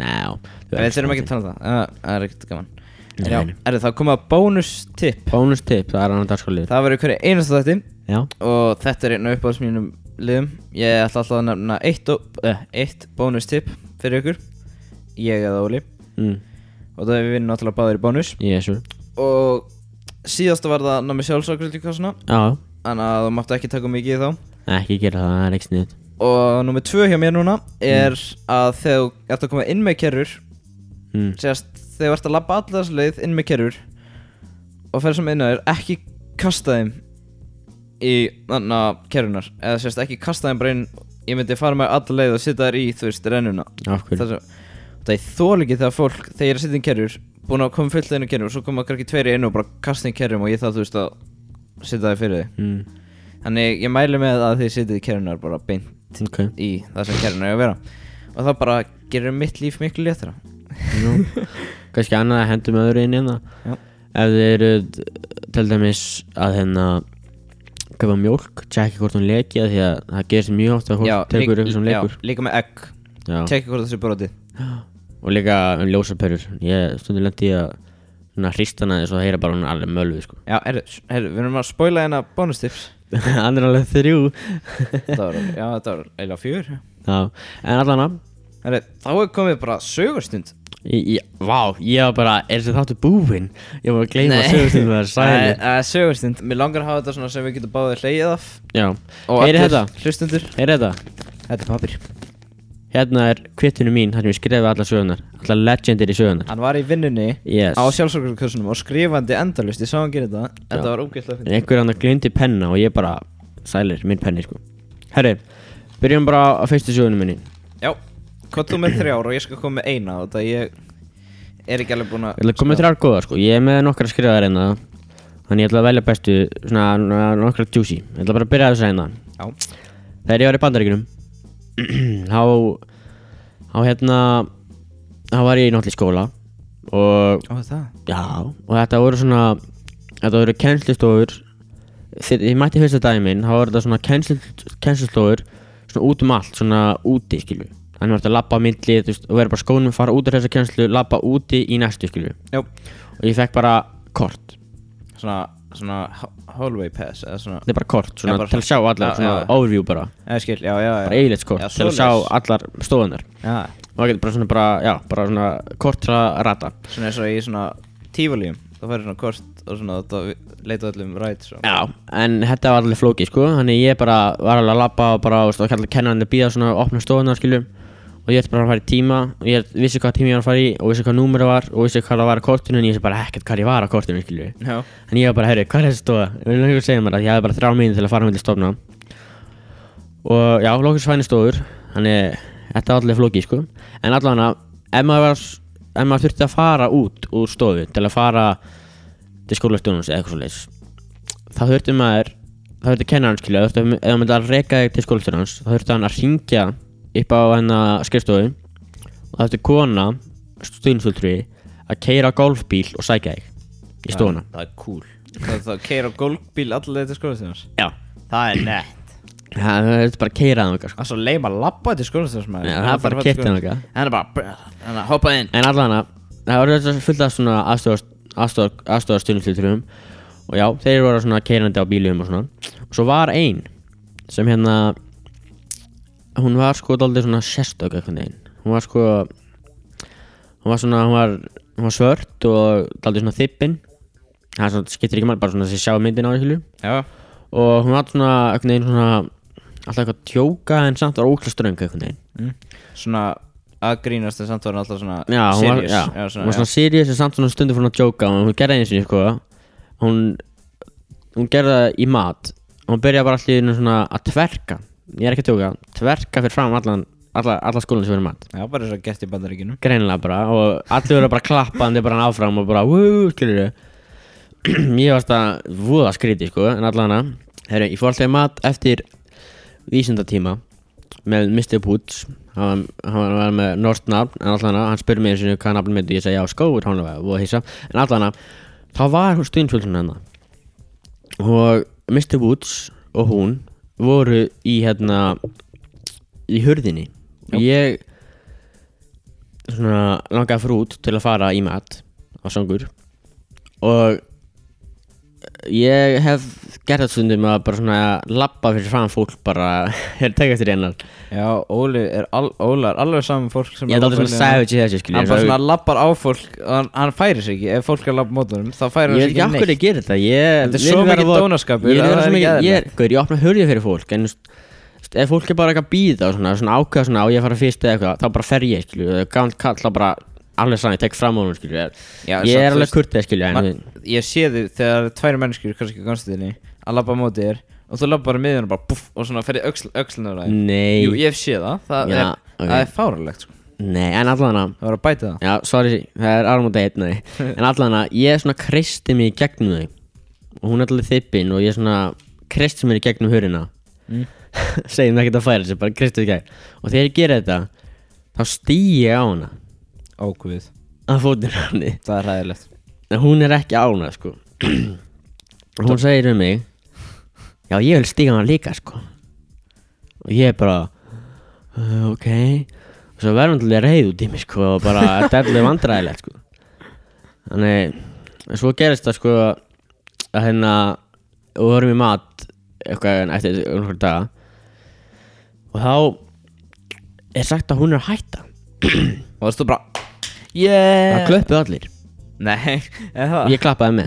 Ná, Nei, Við þurfum ekki að tala um það, það það er ekkert gaman En Nei, já, nei. er það komið að bónustipp Bónus tipp, það er annar dagskálir Það verður hverju einasta þætti Já, Og þetta er einn af uppáhalds mínum liðum Ég ætla alltaf að nefna eitt, og- eh, eitt bónustipp fyrir ykkur Ég eða Óli mm, Og það er við vinnum náttúrulega báðir í bónus jésu Og síðasta var það námi sjálfsakvöldikassuna Já, Þannig að þú máttu ekki taka mikið í þá ekki gera það, það er ekki sniðut Og nummið tvö hjá mér núna er að þegar þú ert að koma inn með kerrur mm. Sérst, þegar þú ert að labba allar þessu leið inn með kerrur og fer sem inn að þér, ekki kasta þeim í þarna kerrunar eða sérst, ekki kasta þeim bara inn ég myndi fara með allar leið og setja þær í, þú veist, rennuna Af hverju? það, sem, það er þól ekki þegar fólk, þegar ég er að setja inn kerrur búin að koma fullt inn í kerrur og svo koma kannski tveiri inn og bara kasta inn kerrum og ég þarf, þú veist, að setja þær fyrir þig mm. þannig ég mæli með að þið setjið kerrunar bara beint Ok, í það sem kerrunar er að vera og það bara gerir mitt líf miklu léttara nú Kannski annað að hendum öðru inn hérna Já. ef þið eru t- til dæmis að hérna köpa mjólk, tjekki hvort hún leki af því að það gerist mjög oft að Já, hvort tekur lík- eitthvað sem lekur já, líka með egg, já. tjekka hvort það sé brotið og líka um ljósaperur ég stundur lendi í að svona hrista hana þess að heyra bara hún er alveg mölvu sko. já, herru, sh- herru, við erum að spoila hérna bónustips hann er alveg þrjú þetta var, já, þetta var eiginlega fjör já. en allan að herru, þá er komið bara sögurstund Í, í, vá, ég var bara, er þessi þáttu búinn? Ég var að gleyma Nei. sögustundum það er sæli Nei, eh, sögurstund, mér langar að hafa þetta svona sem við getum báðið hleyið af Já, og heyrið þetta, hlustundur heyrið þetta þetta er pappir, Hérna er kvittunum mín, þar sem ég skrifaði alla sögunar Alla legendir í sögunar hann var í vinnunni Yes á sjálfsökurkursunum og skrifandi endalust ég sá hann gera þetta, þetta var ógeðslega fint En einhver annar glindi penna og ég bara sælir, minn penni sko Herri, byrjum bara á fyrstu sögunum minni Já, hvað þú með þrjár og ég skal koma með eina Þetta ég er ekki alveg búinn að Ég ætla að koma með þrjár góðar sko, ég er með nokkra skrifaðar hérna Þannig ég ætla að velja bestu, svona n- nokkra juicy Ég ætla bara að byrja að þessu hérna Já, Þegar ég var í bandaríkunum Þá, þá hérna, þá var ég í náttúrulega skóla Og og það Já, og þetta voru svona Þetta voru kennslistofur Þegar ég mætti fyrsta daginn minn þá voru þetta svona kennsl- kennslustofur Svona út um allt, svona úti skilju Þannig var þetta að labba á milli þú veist, og vera bara skónum fara út af þessa kennslu, labba úti í næstu skilju Já, Og ég fekk bara kort svona, svona ho- hallway pass eða svona Þetta er bara kort, svona Já, bara til að sjá allar, já, svona já. overview bara Já, skil, já, já, já Bara eiginleitt kort, til að sjá svoleiðis. allar stofunar Já, Og það getur bara svona, bara, já, bara svona kort til að rata svona eins og í svona tífalíum Það færi svona kort og svona þetta leita öllum rætt svo Já, en þetta var alveg flókið sko Þannig ég bara var alveg að labba og bara og kallar kennarinn að býða svona opna stofuna skilju Og ég ætti bara að fara í tíma og ég vissi hvað tíma ég var að fara í og vissi hvað númer það var og vissi hvað það var á kortinu en ég vissi bara ekkert hvað ég var á kortinu skilju Já, En ég var bara, herri, hvað er þessi stofa? Við erum lengur að segja mér að ég hafði bara þrjá mínu til að fara með til stofna Og já, lókis fæni stofur Þannig, þetta var alveg flókið sko En allavega, ef maður var ef maður þurfti að fara út úr stofu til að fara til skólastjónum eða eitthvað svo þá þurfti maður þá þurfti kennarinn skilja ef það myndi að reka þig til skólastjórnans þá þurfti hann að ringja upp á hennar skrifstofu og þá þurfti kona stuðinsvöldri að keira golfbíl og sækja þig í stofuna Það er cool Það það keira gólkbíl allir leið til skólastjóðans já Það er nett það það þurfti bara að keira það okkar sko. Það er svo leim að labba til skólastjóðans maður Já, það er bara að fara til keypt hann skólans- eitthvað. Hann er bara, hann er að hoppa inn en allavega það voru þetta fullt af svona aðstofar stuðinsvöldrum og já, þeir voru svona keirandi á bílum og svona og svo var ein sem hérna hún var sko daldið svona sérstök eitthvað neginn hún var sko hún var svona, hún var, hún var svört og daldið svona þippin það er svona, skiptir ekki máli, bara svona þessi sjá myndin á þessu Já, og hún var svona eitthvað neginn svona alltaf eitthvað tjóka en samt var ókla ströng eitthvað neginn svona að grínast en samt var hann alltaf svona já, hún var, serious já, svona, hún var svona serious en samt svona stundu fór hún að djóka og hún gerði einu sinni sko hún, hún gerði það í mat og hún byrjaði bara allir einu svona að tverka ég er ekki að djóka, tverka fyrir fram allan, alla, alla skólan sem fyrir mat já, bara eins og gert í bandaríkinu greinilega bara og allir voru bara að klappa hann er bara áfram og bara wuuu skilur ég varst að voða skríti sko en allan að herru ég fór alltaf í mat eftir vísindatíma með Mr. Poots hann, hann var með norst nafn en allan að hann spurði mig eins og hvað nafn myndi ég segja á skóur hann var voða hissa en allan að þá var hún stuðinsvöldun hennar og Mr. Woods og hún voru í hérna í hurðinni og ég svona langaði fyrir út til að fara í mat á sangur og ég hef gert það stundum að bara svona labba fyrir fram fólk bara er tekið eftir hennar já, Óli er, al, Óla er alveg saman fólk sem ég hef aldrei labbar svona í hann. savage í þessu skilja hann bara svona lappar á fólk og hann, hann færi sig ekki, ef fólk er að lappa mótunum þá færi Ég hann veit sig ekki af ekki hverju ég neitt Þetta er gerir þetta Ég vil svo vera mikill vor- dónaskapur, Ég er það verið er svo ekki mikið Ég er, eðlilegt. gaur, ég opna hurðið fyrir fólk En þú veist, þú veist, ef fólk er bara eitthvað að býða og svona, svona ákveða svona á ég að fara fyrst eða eitthvað Þá bara fer ég, skilju Gáðan kall þá bara Alveg sann, ég tek fram á hún, skilju Ég Já, ég samt, er þú alveg veist, kurtið, skilju En Ma- ég sé þig þegar tværi mennskjur kannski konstiðinni að lappa móti þér og þú lappar bara miðjum og bara buff og svona ferði öxl, öxlunar að Nei. jú, ég sé það, það, Já, er, ok. það er fáralegt sko. Nei, en allan það var að bæta það Já, sorry, það er áramóta einn nei. En allan að ég svona kristi mig í gegnum þau Og hún er allir þippin og ég svona kristi mig í gegnum hurina mm. Segjum það ekki að færa sig, bara kristi mig í gegn Og þegar ég gera þetta Þá stýi ég á hana ókvið, Að fótinn hanni það er hæðilegt En hún er ekki á hana, sko Og hún segir um mig Já, ég vil stíga hana líka, sko Og ég er bara uh, Ok Og svo verður hann til að reyð út í mig, sko Og bara, þetta er alveg vandræðilegt, sko Þannig en Svo gerist það, sko Að hérna Og við vorum í mat Eitthvað en eftir einhver daga Og þá Er sagt að hún er að hætta og það stóð bara yeah Það klöppuð allir nei, er það Ég klappaði með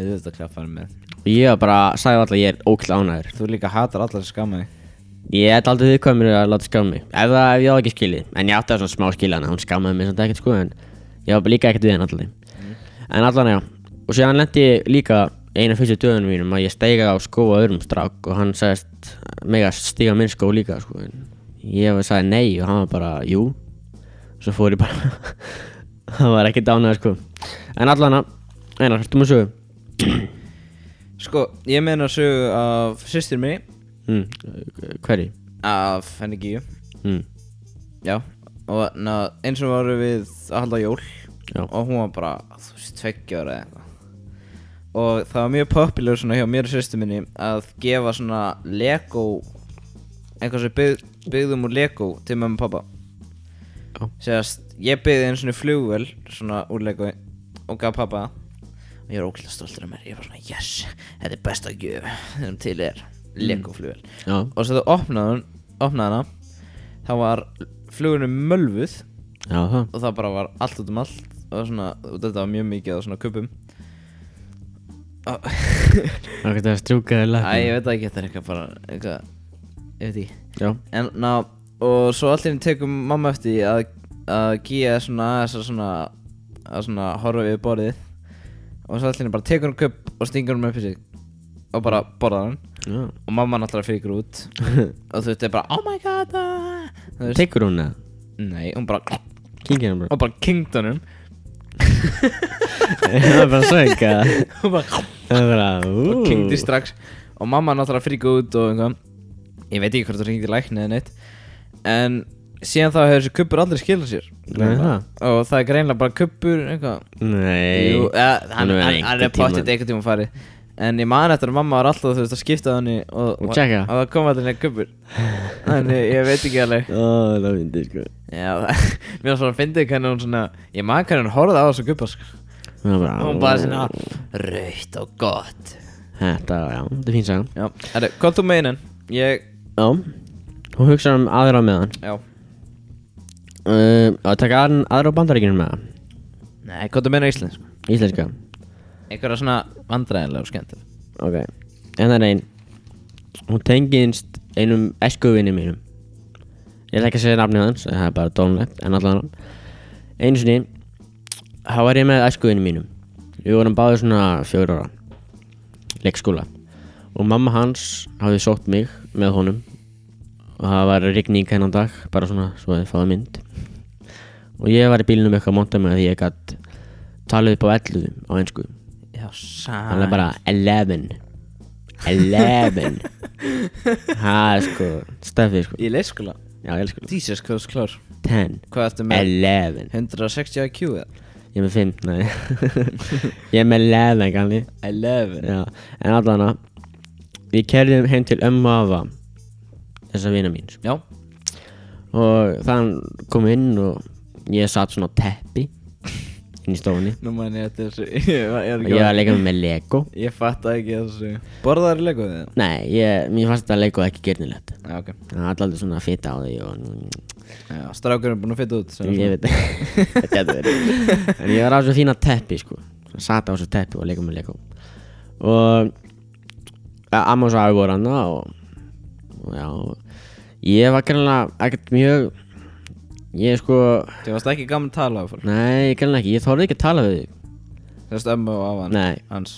Ég þurfti að klappa hann með Og ég var bara, sagði alltaf að ég er ókla ánæður Þú líka hatar allar sem skamma þig Ég ætti aldrei viðkvæmur að láta skamma mig Ef það ef ég á ekki skilið En ég átti það svona smá skilið hana, hún skammaði mig svona ekkert sko En ég var bara líka ekkert við henni alltaf En allan já Og síðan lendi ég líka eina fyrstu döðunum mínum að ég steiga á skó á öðrum strák og hann sagðist mega stiga minn skó líka sko. en ég sagði nei og hann var bara jú svo fór ég bara hann var ekki dánað sko. en allan að, einar, hættum að sögu Sko, ég meina sögu af sýstir minni mm, hverju? Af henni Gíu Mm, Já Og na, eins og varum við að halda jól Já. Og hún var bara, þú veist, tveggja ára eða eitthvað Og það var mjög popular svona hjá mér og sýstir minni Að gefa svona Lego Eitthvað sem bygg, byggðum úr Lego til mömmu og pappa Já. Segast, ég byggði einu svona flugvel Svona úr Lego Og gaf pappa það. Og ég var ókvæmlega stoltur af mér Ég var svona, yes, þetta er besta gjöf Þegar til er Mm. Lego flugvel já, og svo þú opnaði hún opnaði hana þá var flugurinn mölvuð já það og það bara var allt út um allt og svona, og þetta var mjög mikið á svona kuppum og það getur að strjúka þér Æ, ég lakið veit það ekki, þetta er eitthvað bara eitthvað, ég veit ekki já, en ná, og svo allir tekum mamma eftir því að, að Gía er svona aðeins að svona að svona horfa við borðið og svo allir bara tekur hún kupp og stingur hún upp í sig og bara borðar hann já og mamma náttúrulega fyrir út og þú veist, er bara, oh my god ah." Þú veist, tekur hún það? Nei, hún bara kingir hann bara Og bara kingdónum það er bara svögg að Hún bara það er bara, ú Og kingdi strax Og mamma náttúrulega fríka út og einhvað Ég veit ekki hvort það ringdi lækni eða neitt En síðan þá hefur þessi kuppur aldrei skilað sér Nei, það? Og það er greinlega bara kuppur eitthvað nei Jú, eða, hann, Hún hann, hefur hann er einhvern tímann- pottið eitthvað tíma farið En ég man eftir að mamma var alltaf þú veist að skipta hann og, Og tjekka. Og það kom allir neitt kuppur Þannig ég veit ekki alveg Ó, það er fyndið sko Já, það, mér var svona að fyndi hvernig hún svona Ég man hvernig hún horfði á þessu kuppa sko Það er bara, Og hún bara svona Raukt og gott Þetta, já, þetta er fín saga Já, herri, hvað þú meinan? Ég, Já, hún hugsa um aðra með hann já uh, Að taka aðra, aðra á bandaríkinu með hann Nei, hvað þú meinar íslensk? Íslenska Eitthvað svona vandræðilega og skemmtilega Ok, en það er ein Hún tengist einum eskuvinni mínum Ég ætla ekki að segja nafnið hans Það er bara dónlegt, en allan Einu sinni Þá var ég með eskuvinni mínum Við vorum báðið svona fjör ára Leikskóla Og mamma hans hafði sótt mig með honum Og það var rigning hennan dag Bara svona, svo þið fáið mynd Og ég var í bílnum eitthvað að monta mig að Því ég gat talið upp á 11 á einsku Já, hann sæ er bara 11 11 það er sko stefið sko Í leikskóla? já ég elsku Jesus, hvað þú ert klár 10 Hvað ertu með? 11 160 IQ eða? ég er með 5 nei ég er með 11 kannli 11 já en allan að við kerðum heim til ömmu og afa þessa vina mín Já, og þann kom inn og ég satt svona á teppi inn í stofunni nú man ég eftir þessu Ég var- ég er og ekki ég var var að leika með Lego Ég fatt ekki þessu Borðaður í leikuðið? nei ég mér fannst þetta Lego ekki gernilegt Já, ok það er alltaf svona fita á því og Já, strákurinn er búinn að fita út sem ég veit það getur verið en ég var á þessu fína teppi sko sat á þessu teppi og leikum með leikum og ja, amma og svo afi voru hann og, og já ég var greinlega ekkert mjög ég sko Þú varst ekki gaman að tala á fólk nei, greinlega ekki, ég þorði ekki að tala við þig Þú veist ömmu og afan nei, Hans,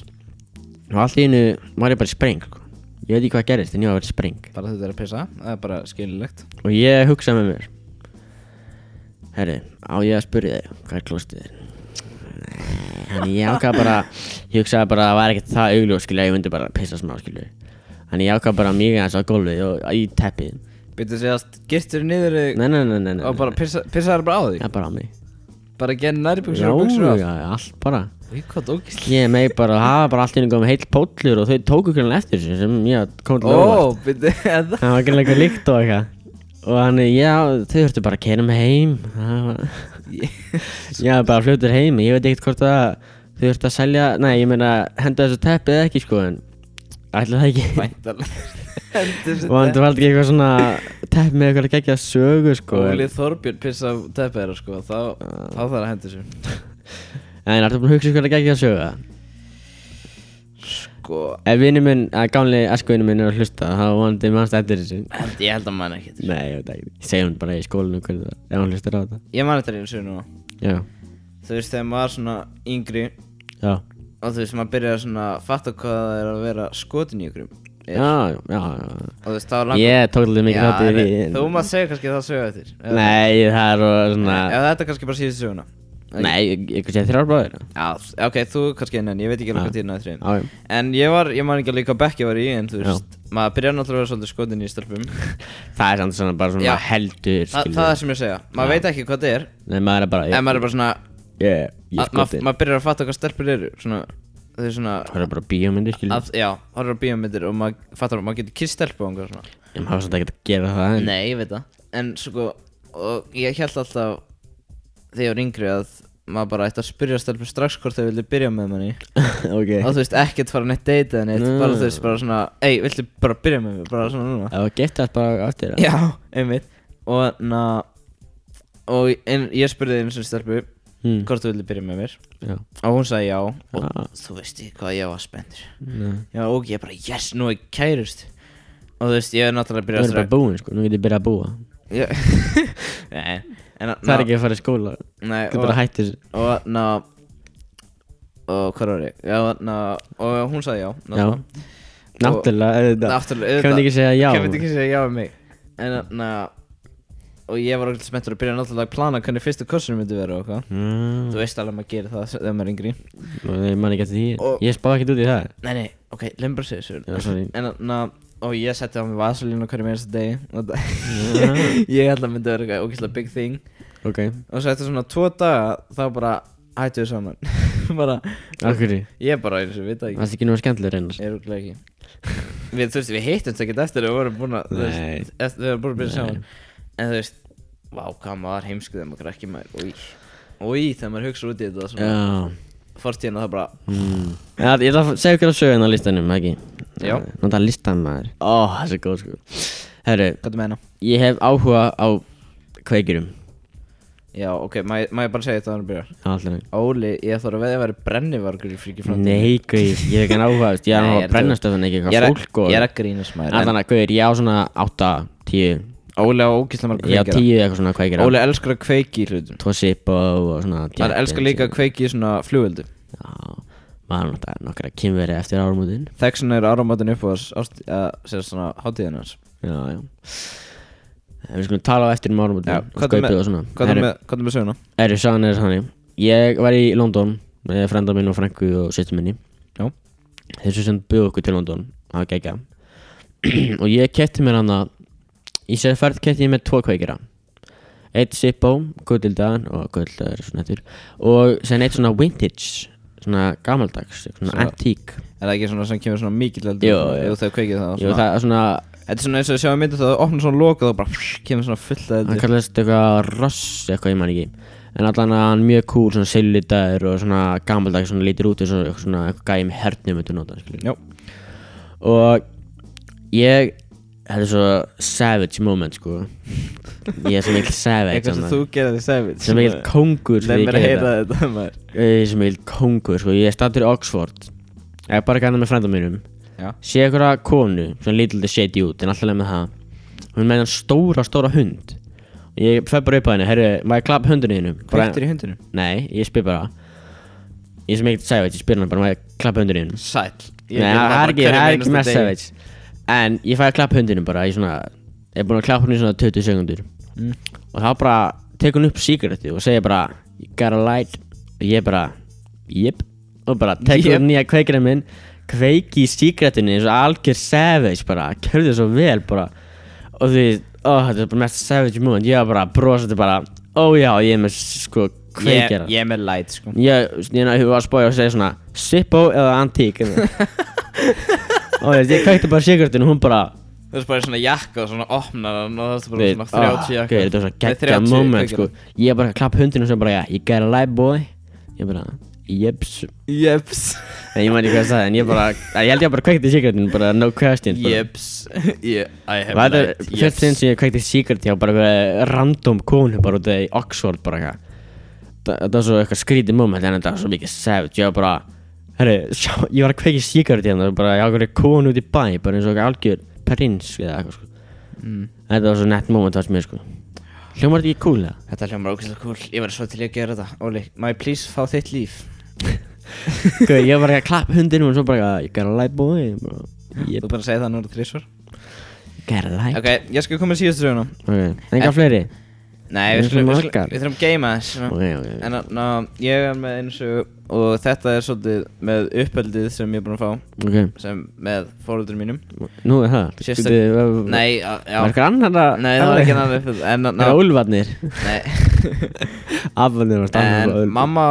og allt í einu var ég bara í spreng sko. ég veit ekki hvað gerist en ég var bara í spreng bara þetta er að pissa Það er bara skililegt og ég hugsaði með mér herri, á ég að spyrja þig hvað er klostið þér þannig ég ákvað bara ég hugsaði bara að það var ekkert það augljós skilja ég myndi bara pissa smá skilja þannig ég ákvað bara mjög aðeins á gólfið og í teppið Býttu segjast, girtur niður í- nei, nei, nei, nei, nei. og bara pissa- pissaður bara á þig ja, bara á mig Bara gerði já, nærbuksur og buksur á já, allt bara Í hvað dókist ég megi bara, það var bara allt í einu komið heill póllur og þau tóku hvernig eftir þessu sem ég kom til að Ó, býttu eða það var ekki eitthvað líkt og eitthvað og þannig, já, þau þurftu bara að kera mig heim það var Já, bara fljótur heim, ég veit ekkert hvort að þau ert að selja, nei, ég meina henda þessu teppi eða ekki sko en ætla það ekki Væntalega Endur og hann sér valdi ekki eitthvað svona teppi með eitthvað ekki að sögu sko en, Óli Þorbjörn pissa á teppera sko Þá, þá þarf að henda sér en ertu búin að hugsa eitthvað ekki að sögu það? Sko Ef vinnu minn, að gánli eskuvinnu minn er að hlusta þá vonandi mannst eftir þessu held- Ég held að manna ekki þetta. Nei, ég veit ekki, ég segi hún bara í skólinu hvernig það, ef hann hlustar á þetta Ég man þetta eins og núna Já, Þú veist þegar maður var svona yngri já, og þú veist, maður byrjar svona að fatta hvað það er að vera skotin í ykkur og já, já, já, þú veist, það var já Ég tók alveg mikið þátt í en því þú maður segja kannski það sögja eftir Eða- Nei, það er og svona eða þetta er kannski bara síðan söguna Nei, ég ég kannski þrjár bráðir Já, ok, þú kannski einn en ég veit ekki alveg hvað tíðin að þrjum Já, já En ég var, ég man ekki alveg hvað bekk ég var í en þú veist, maður byrjar náttúrulega að vera svolítið skotin í stelpum Það er samt svona bara svona Já. heldur Þa, skilur Það er sem ég segja, maður veit ekki hvað það er Nei, maður er bara En Ég, maður er bara svona, ég, að- ég maður skotir maður byrjar að fatta hvað stelpur eru Svona, þau eru svona Það er bara bíómyndir skilur að, Já, horfður á bíómyndir og maður fattar, maður getur kist stelpu og einhver svona Ég maður svona ekki að gera það en Nei, ég veit það En sko, og ég held alltaf Þegar ég var yngri að maður bara ætti að spyrja stelpur strax hvort þau vildi byrja með manni Ok Og þú veist, ekkert fara neitt deyta eða neitt Nei. Bara þú veist, bara svona, ei, viltu bara byrja með mér, bara svona núna Það var gett það bara aftur eða? Já, einmitt Og na, og en, ég spurði eins og stelpu Hmm, hvort þú vildi byrja með mér Já Og hún sagði já Og Ah. þú veist ég hvað ég var spenntur Nei. Já, og ég bara, yes, nú er kærust Og þú veist, ég er náttúrulega Nú byrjað er bara búin sko, nú getur ég byrjað að búa strax Ég- Nei, en Það er ekki að fara í skóla Nei, Getur bara og, hætt þessu og ná Og hvað var ég? Já, ná, og hún sagði já Já Náttúrulega er þetta Náttúrulega Kann ekki segja já Kæmur ekki segja já um mig En ná Og ég var okkur smettur að byrja náttúrulega að plana hvernig fyrstu kursunum myndi vera og hvað Mm, Þú veist alveg að maður gerir það þegar maður er yngri Ég man ekki eftir því Og- Ég spá ekkert út í það Nei, nei, ok, lemm bara segja þessu Já, sorry. En ná Og ég setti á mig vasalín á hverju meirsta degi og það- Ég held að myndi vera eitthvað ógeðslega big thing Ok Og svo eftir svona tvo daga Þá bara hættu við saman Bara Akkur Ég bara eins og veit það ekki Það er ekki nú skemmtilegur einnars Ég rúglega ekki Við, þú veist, við hittumst ekkert eftir að við vorum búin að þú Nei. veist, eftir, Við vorum búin að byrja saman En þú veist, vá, hvað maður heimskuðum maður ekki maður Új, új, þegar maður hugsa út í þetta svona, Já Fortíðina það bara mm. ja, Ég ætla að segja ykkur að söguna á listanum, ekki? Já. Nóta listan maður Ó, það er svo góð sko Herru, Hvað þú meina? ég hef áhuga á kveikjurum Já, ok, má ég má ég bara segja þetta þannig að byrja Já, alltaf leið. Óli, ég þarf að veða að vera brennivargur í fríki framtíð Nei, gauð, ég hef ekki hann áhuga, veist, ég er Nei, hann ég að er brenna stöðan ekki Ég er eitthvað að- fólk og Ég er að grínast maður en Allan að gauð, ég á svona 8, 10, Óli á ógíslega margur ég á 10 eitthvað svona kveikjur Óli elskar að kveiki í hlutum Tossip og, og svona Hann elskar líka að kveiki í svona flugveldu Já, maður er náttúrulega nokkra kynveri eftir árumútin Þekks hann er áramáttin upp á þess ást- að segja svona hátíðin hans Já, já En Við skulum tala á eftir um árumútin Já, hvað er með- Skaupið og svona Hvað er með, hvað er með söguna? Erri, sagan er þannig Ég var í London með frenda minn og frængu og sýttu minni Já. Þessu sem byggði okkur til London Það var gegja Og ég kefti mér hann að Í sér ferð kefti ég með tvo kveikira Eitt Zippo, Guðildaðan og Guðildaðar er svona eittur Og sen eitt svona vintage Svona gamaldags, svona Svona- antík Er það ekki svona sem kemur svona mikill eldur Jú, svona, jú. ef þau kveikið það, Jú, svona, það er svona Þetta er svona eins og við sjáum myndið það Það opnar svona loka og bara kemur svona fullt af Hann eldur kallast eitthvað ross eitthvað ég man ekki En allan að hann er mjög cool, svona silitaður og svona gamaldags, svona lítir út eins og eitthvað svona eitthvað gæði með hernum myndi nota, skilur Já, og ég þetta er svo savage moment sko ég er svo mikil savage eitthvað sem annað. þú gerir því sæfið svo mikil kóngur sko, Leif mér ég að gerði heyra þetta maður þetta. ég er svo mikil kóngur sko ég er stattur í Oxford ég er bara ekki annað með frænda mínum Já, sé einhverja konu sem lítur lítið shady út en alltaf leið með það hún með hann stóra stóra hund og ég fer bara upp að henni herru maður klapp hundinu þínu Bara- kveiktir í hundinu nei ég spyr bara ég er svo mikil savage ég spyr hann bara maður klapp hundinu þínu Sæl Nei, það er ekki, það er ekki mest savage En ég fæði að klappa hundinum bara Ég svona, ég er búin að klappa hundinum í svona 20 sekundur Mm. Og þá bara tekur hún upp sígarettu Og segir bara, you got a light Og ég bara, jip Og bara tekur Jep. yep. nýja kveikina minn Kveiki í sígarettunni eins og algjör savage bara Kjörðu svo vel bara Og því, ó, þetta er bara mest savage moment Ég var bara brosandi bara Ó já, ég er með sko kveikina Ég er með light sko Ég, ég náðu að spója og segja svona Sippo eða antík eða. Og ég, ég kveikti bara sigurðin og hún bara Það er bara svona jakka og svona opnar hann og það er bara við- svona 30 ah, ok, jakka Þetta var svona Nei, geggja 30 moment sko. kveikir. Ég bara klapp hundinu og sem bara Ég got a light boy Ég bara, jeps Jeps En ég man ekki hvað það En ég bara, ég held ég bara kveikti sigurðin Bara no question bara. Jeps Yeah, I have Það er light fyrst sinn sem ég kveikti síkert hjá bara eitthvað random konu bara út í Oxford bara eitthvað Þa- Þetta var svo eitthvað skrítið moment en þetta var svo mikið savage Ég var bara, herru, sjá, ég var að kveikja síkert hérna bara ég ákveði konu út í bæ bara eins og eitthvað algjör prins eða eitthvað sko Mm. Þetta var svo nett moment það sem ég sko Hljómar þetta ekki cool eða? Þetta hljómar ógæslega cool Ég var svo til í að gera þetta Óli, má ég please fá þitt líf Gauð, ég var bara að klappa hundinum og svo bara Ég gotta light boy bara, Þú Yep, bara segir það núna þrísvar gotta light Ok, ég skal koma í síðustu söguna Ok, enga fleiri Nei, Við við, erum skulum, svo við, skulum, margar. við þurfum að geima þess svona. Ok, ok, ok. En ná, ég er með eins og Og þetta er svolítið með uppeldið sem ég er búinn að fá Ok, Sem með fóröldur mínum nú er það Sérstök- Bíddu, Nei, á- já Var eitthvað annar að Nei, það var ekki annað uppeldi En, Það er ná, úlfarnir nei Afvarnir var stannir En mamma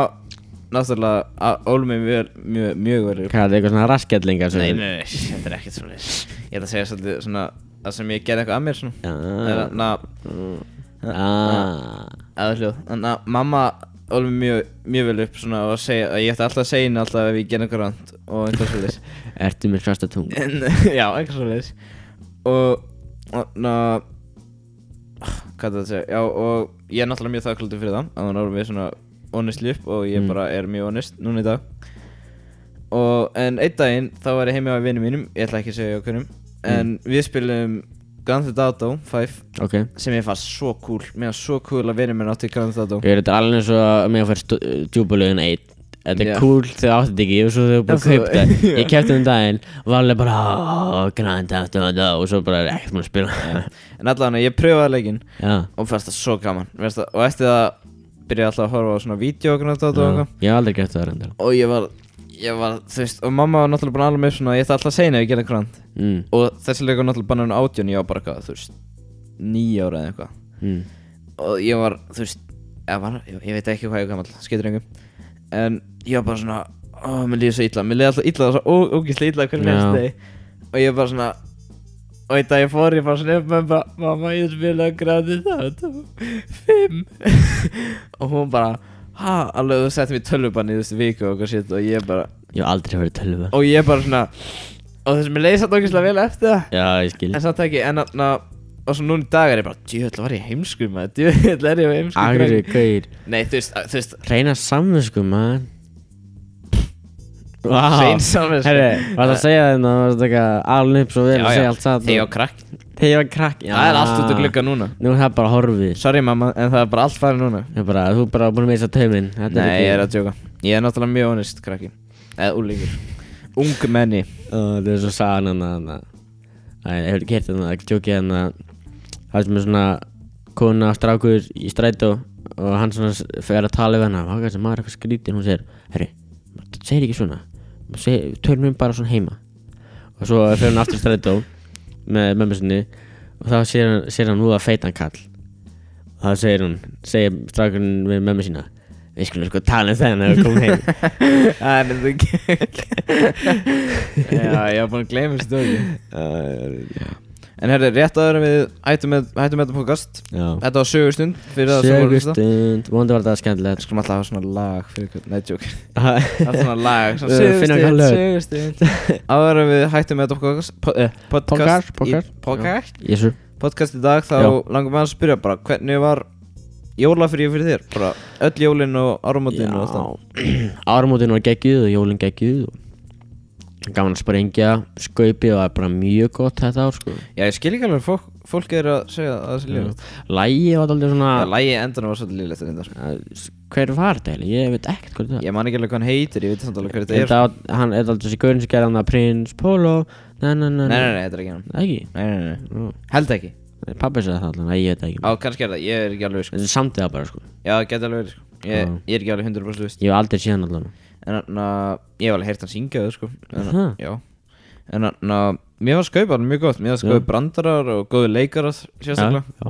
Náttúrulega á- ól mig mjög, mjög, mjög verið Hvað er það eitthvað svona raskjallingar Nei, nei, nei, þetta er ekkert svona Ég ætla að segja svolítið svona Það sem ég gerði eitthvað að mér svona Já En, ná, Ah. aðhljóð Þannig að mamma alveg mjög, mjög vel upp svona og segja, og ég ætti alltaf að segja henni alltaf ef ég gerði eitthvað rand og einhvers veldis Ertu með svarta tung Já, einhvers veldis og þannig að hvað er það að segja, já og ég er náttúrulega mjög þakkláttur fyrir það að hún alveg svona honestli upp og ég Mm. bara er mjög honest núna í dag og en einn daginn þá var ég heima á vinum mínum, ég ætla ekki að segja okkurum en Mm. við spilum Grand Theft Auto 5 Ok sem ég fannst svo cool, mér fannst svo cool að vinur minn átti Grand Theft Auto Ég er þetta alveg eins og að mig að fara djúbulögin eitt Þetta er Já. cool þegar átti þetta ekki og svo þegar Já, búið svo- að kaupa já. það Ég kæfti um daginn og var alveg bara "Ó, Grand Theft Auto og svo bara er ekkert múin að spila En allavega, ég pröfaði leikinn Já og fannst það svo gaman Mér fannst það, Og eftir það byrjaði ég alltaf að horfa á svona vídeo og grátt og Já. eitthvað Ég hef aldrei gert það reyndar Og ég var, ég var, þú veist, og mamma var náttúrulega búin að alveg með svona Ég ætti alltaf að segja henni ef ég gerði gránt mm. Og þessi leikur náttúrulega bara hann átjón, ég var bara eitthvað, þú veist, níu ára eða eitthvað mm. Og ég var, þú veist, ég, var, ég, ég veit ekki hvað ég gamall, skeytir engum En ég var bara svona, ó, mér líður svo illa Mér líður alltaf illa, svo ó- ógeðslega illa hvernig Já. næst deg Og ég var bara svona, og í dag ég fór ég bara svona upp með bara mamma ég spila græði það fimm og hún bara ha alveg þú settum í tölvubann í þessu viku og eitthvað shit og ég bara Ég hef aldrei farið tölva og ég bara svona og þessum ég leysa þetta okkur vel eftir það Já, ég skil en samt ekki en na, og svo núna í dag er ég bara djöðl var ég heimskur maður djöðl er ég heimskur Agri, krakki." gauir nei þú veist þú veist Reina samvinsku, man Hrein samvisku. Herri, var það að segja þeim að það var þetta eitthvað alveg upp svo vel já, að já, segja allt satt þegar ég var krakk Þegar ég var krakk það er allt út af glugga núna Nú er það bara horfið sorry mamma en það er bara allt farið núna Ég er bara, þú er bara búin að missa tauminn Þetta Nei, ég er er að djóka Ég er náttúrulega mjög honest krakki Eða úlingur Ung menni Ó, Það er svo sagan hann að Æ, ég hef kert hann að Jóki hann að Það sem er svona Kona og strákur í strætó Og hann svona s- fer að tala við hann Hvað er þessi maður er eitthvað skrítið Hún segir, herri, það segir ekki svona seg, Tölum bara svona heima Og svo fer hann aftur í strætó Með mömmu sinni Og þá sér hann, sér hann úða feitan kall Og þá segir hún, segir strákurinn við mömmu sína Við skulum sko tala um þennan þegar við komum heim Það er þetta ekki Já, ég var búin að gleyma þessu stóri En herri, rétt áður en við hættum með, hættum með þetta podcast Já Þetta var sögustund fyrir það sem voru að hlusta. Sögustund, vonandi var þetta Við skemmtilegt skulum alltaf hafa svona lag fyrir hvern Nei, djók Það er Þetta svona lag svona Við finnum eitthvað Sögustund, sögustund lög. Áður en við hættum með þetta podcast po- eh, Podcast Podcast, í- podcast. Podcast Jésu Podcast í dag þá Já. langar maður að spyrja bara Hvernig var jólafríð fyrir þér? Bara öll jólin og áramótin og allt það Áramótin var geggjuð og jólin geggjuð og Gaman að sprengja, skaupi og það er bara mjög gott þetta ár sko Já, ég skil ekki alveg fólk, fólk er að segja að það sé líflegt Lægi var aldrei svona Það lægi endanum var svolítið líflegt reyndar sko. að- Hver var þetta eiginlega? Ég veit ekkert hvað þetta Ég man ekki alveg hvað hann heitir, ég veit samt alveg hver þetta er er Þetta á- hann er aldrei þessi gaurin sem gerði hann að Prins Polo Nei, nei, nei, Nei, nei, nei, þetta er ekki hann Ekki? Nei, nei, nei, Nú, held ekki nei, Pabbi sagði það allan, nei, ég veit það ekki Á, kannski er það, ég er ekki alveg viss sko. Þetta er samt eða bara sko Já, það geti alveg verið sko. ég, Já. ég er ekki alveg 100% viss Ég hef aldrei séð hann allan En þannig ég hef alveg heyrt hann syngja það sko En Aha. já En þannig mér var skaupan mjög gott Mér var skaup brandarar og góði leikarar sérstaklega Já, já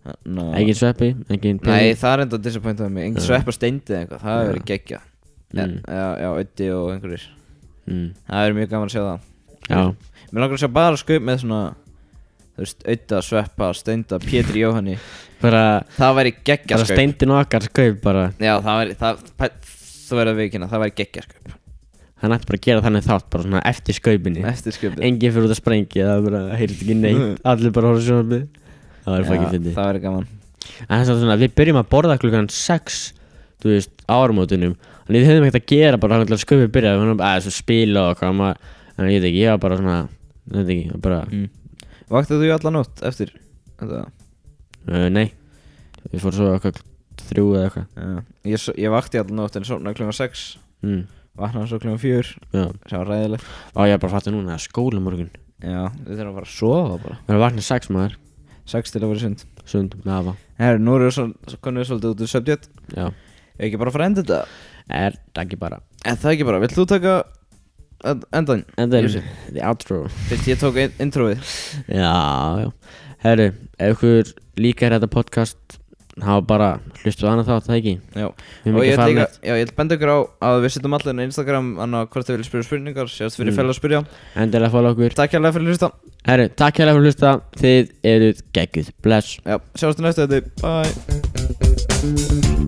Þannig Engin sveppi, engin Nei, pening það er enda disappointaði mig Engin svepp og steindi eða eitthvað, það hefur verið geggja En, Mm. já, já, Öddi og einhverjir mm. Það er mjög gaman að sjá það Já, Mér langar að sjá bara skaup með svona Þú veist, auða, sveppa, steinda, Pétri Jóhanni bara, Það væri geggja bara skaup steindin okkar skaup bara Já, það væri, það, pæ- þú verður að viðkynna Það væri geggja skaup Hann ætti bara að gera þannig þátt, bara svona eftir skaupinni Eftir skaup Engin fyrir út að sprengja, það er bara, heyrðist ekki neitt Allir bara horfður sjónarmið Það var fækið fyndi Það væri gaman En það er svona, við byrjum að borða klukkan 6 Þú veist, á áramótunum Þannig við höfum ekkert að gera bara þannig að skaupið byrja Við höfum að spila og hvað maður Þannig ég veit ekki, ég var bara svona ég veit ekki, ég bara, mm. Vaktaðu þú allan nótt eftir Þetta uh, nei Við fórum svo eitthvað þrjú eða eitthvað Já, ég, s- ég vakti allan nótt en sofnaði klunga 6 mm. vaknaði svo kljóðum fjör já. sem var ræðilegt Á, ég er bara að fatta núna, það er skóla morgun já, við þurfum að fara að sofa bara Við erum vaknað sex maður, sex til að vera sund sund, með afa herru, nú erum við svo, konum við svolítið út úr subject Já, Ef ekki bara að fara að enda þetta er það ekki bara en það er ekki bara, vill þú taka en- endan En það Ég er the outro fyrst ég tók ein- introið Já, já Herru, ef ykkur líkar þetta podcast hafa bara hlustuð annað þátt, það ekki já Við og ég erum ekki að vil fara líka, neitt. já, ég vil benda ykkur á að við setjum allir á Instagram annað hvort þið vilja spyrja spurningar, sérst fyrir Mm. mm. félag að spyrja Endilega fóla okkur takk hérlega fyrir að hlusta Herru, takk hérlega fyrir að hlusta Þið eruð geggjuð Bless já, sjáumst í næstu þetta, bye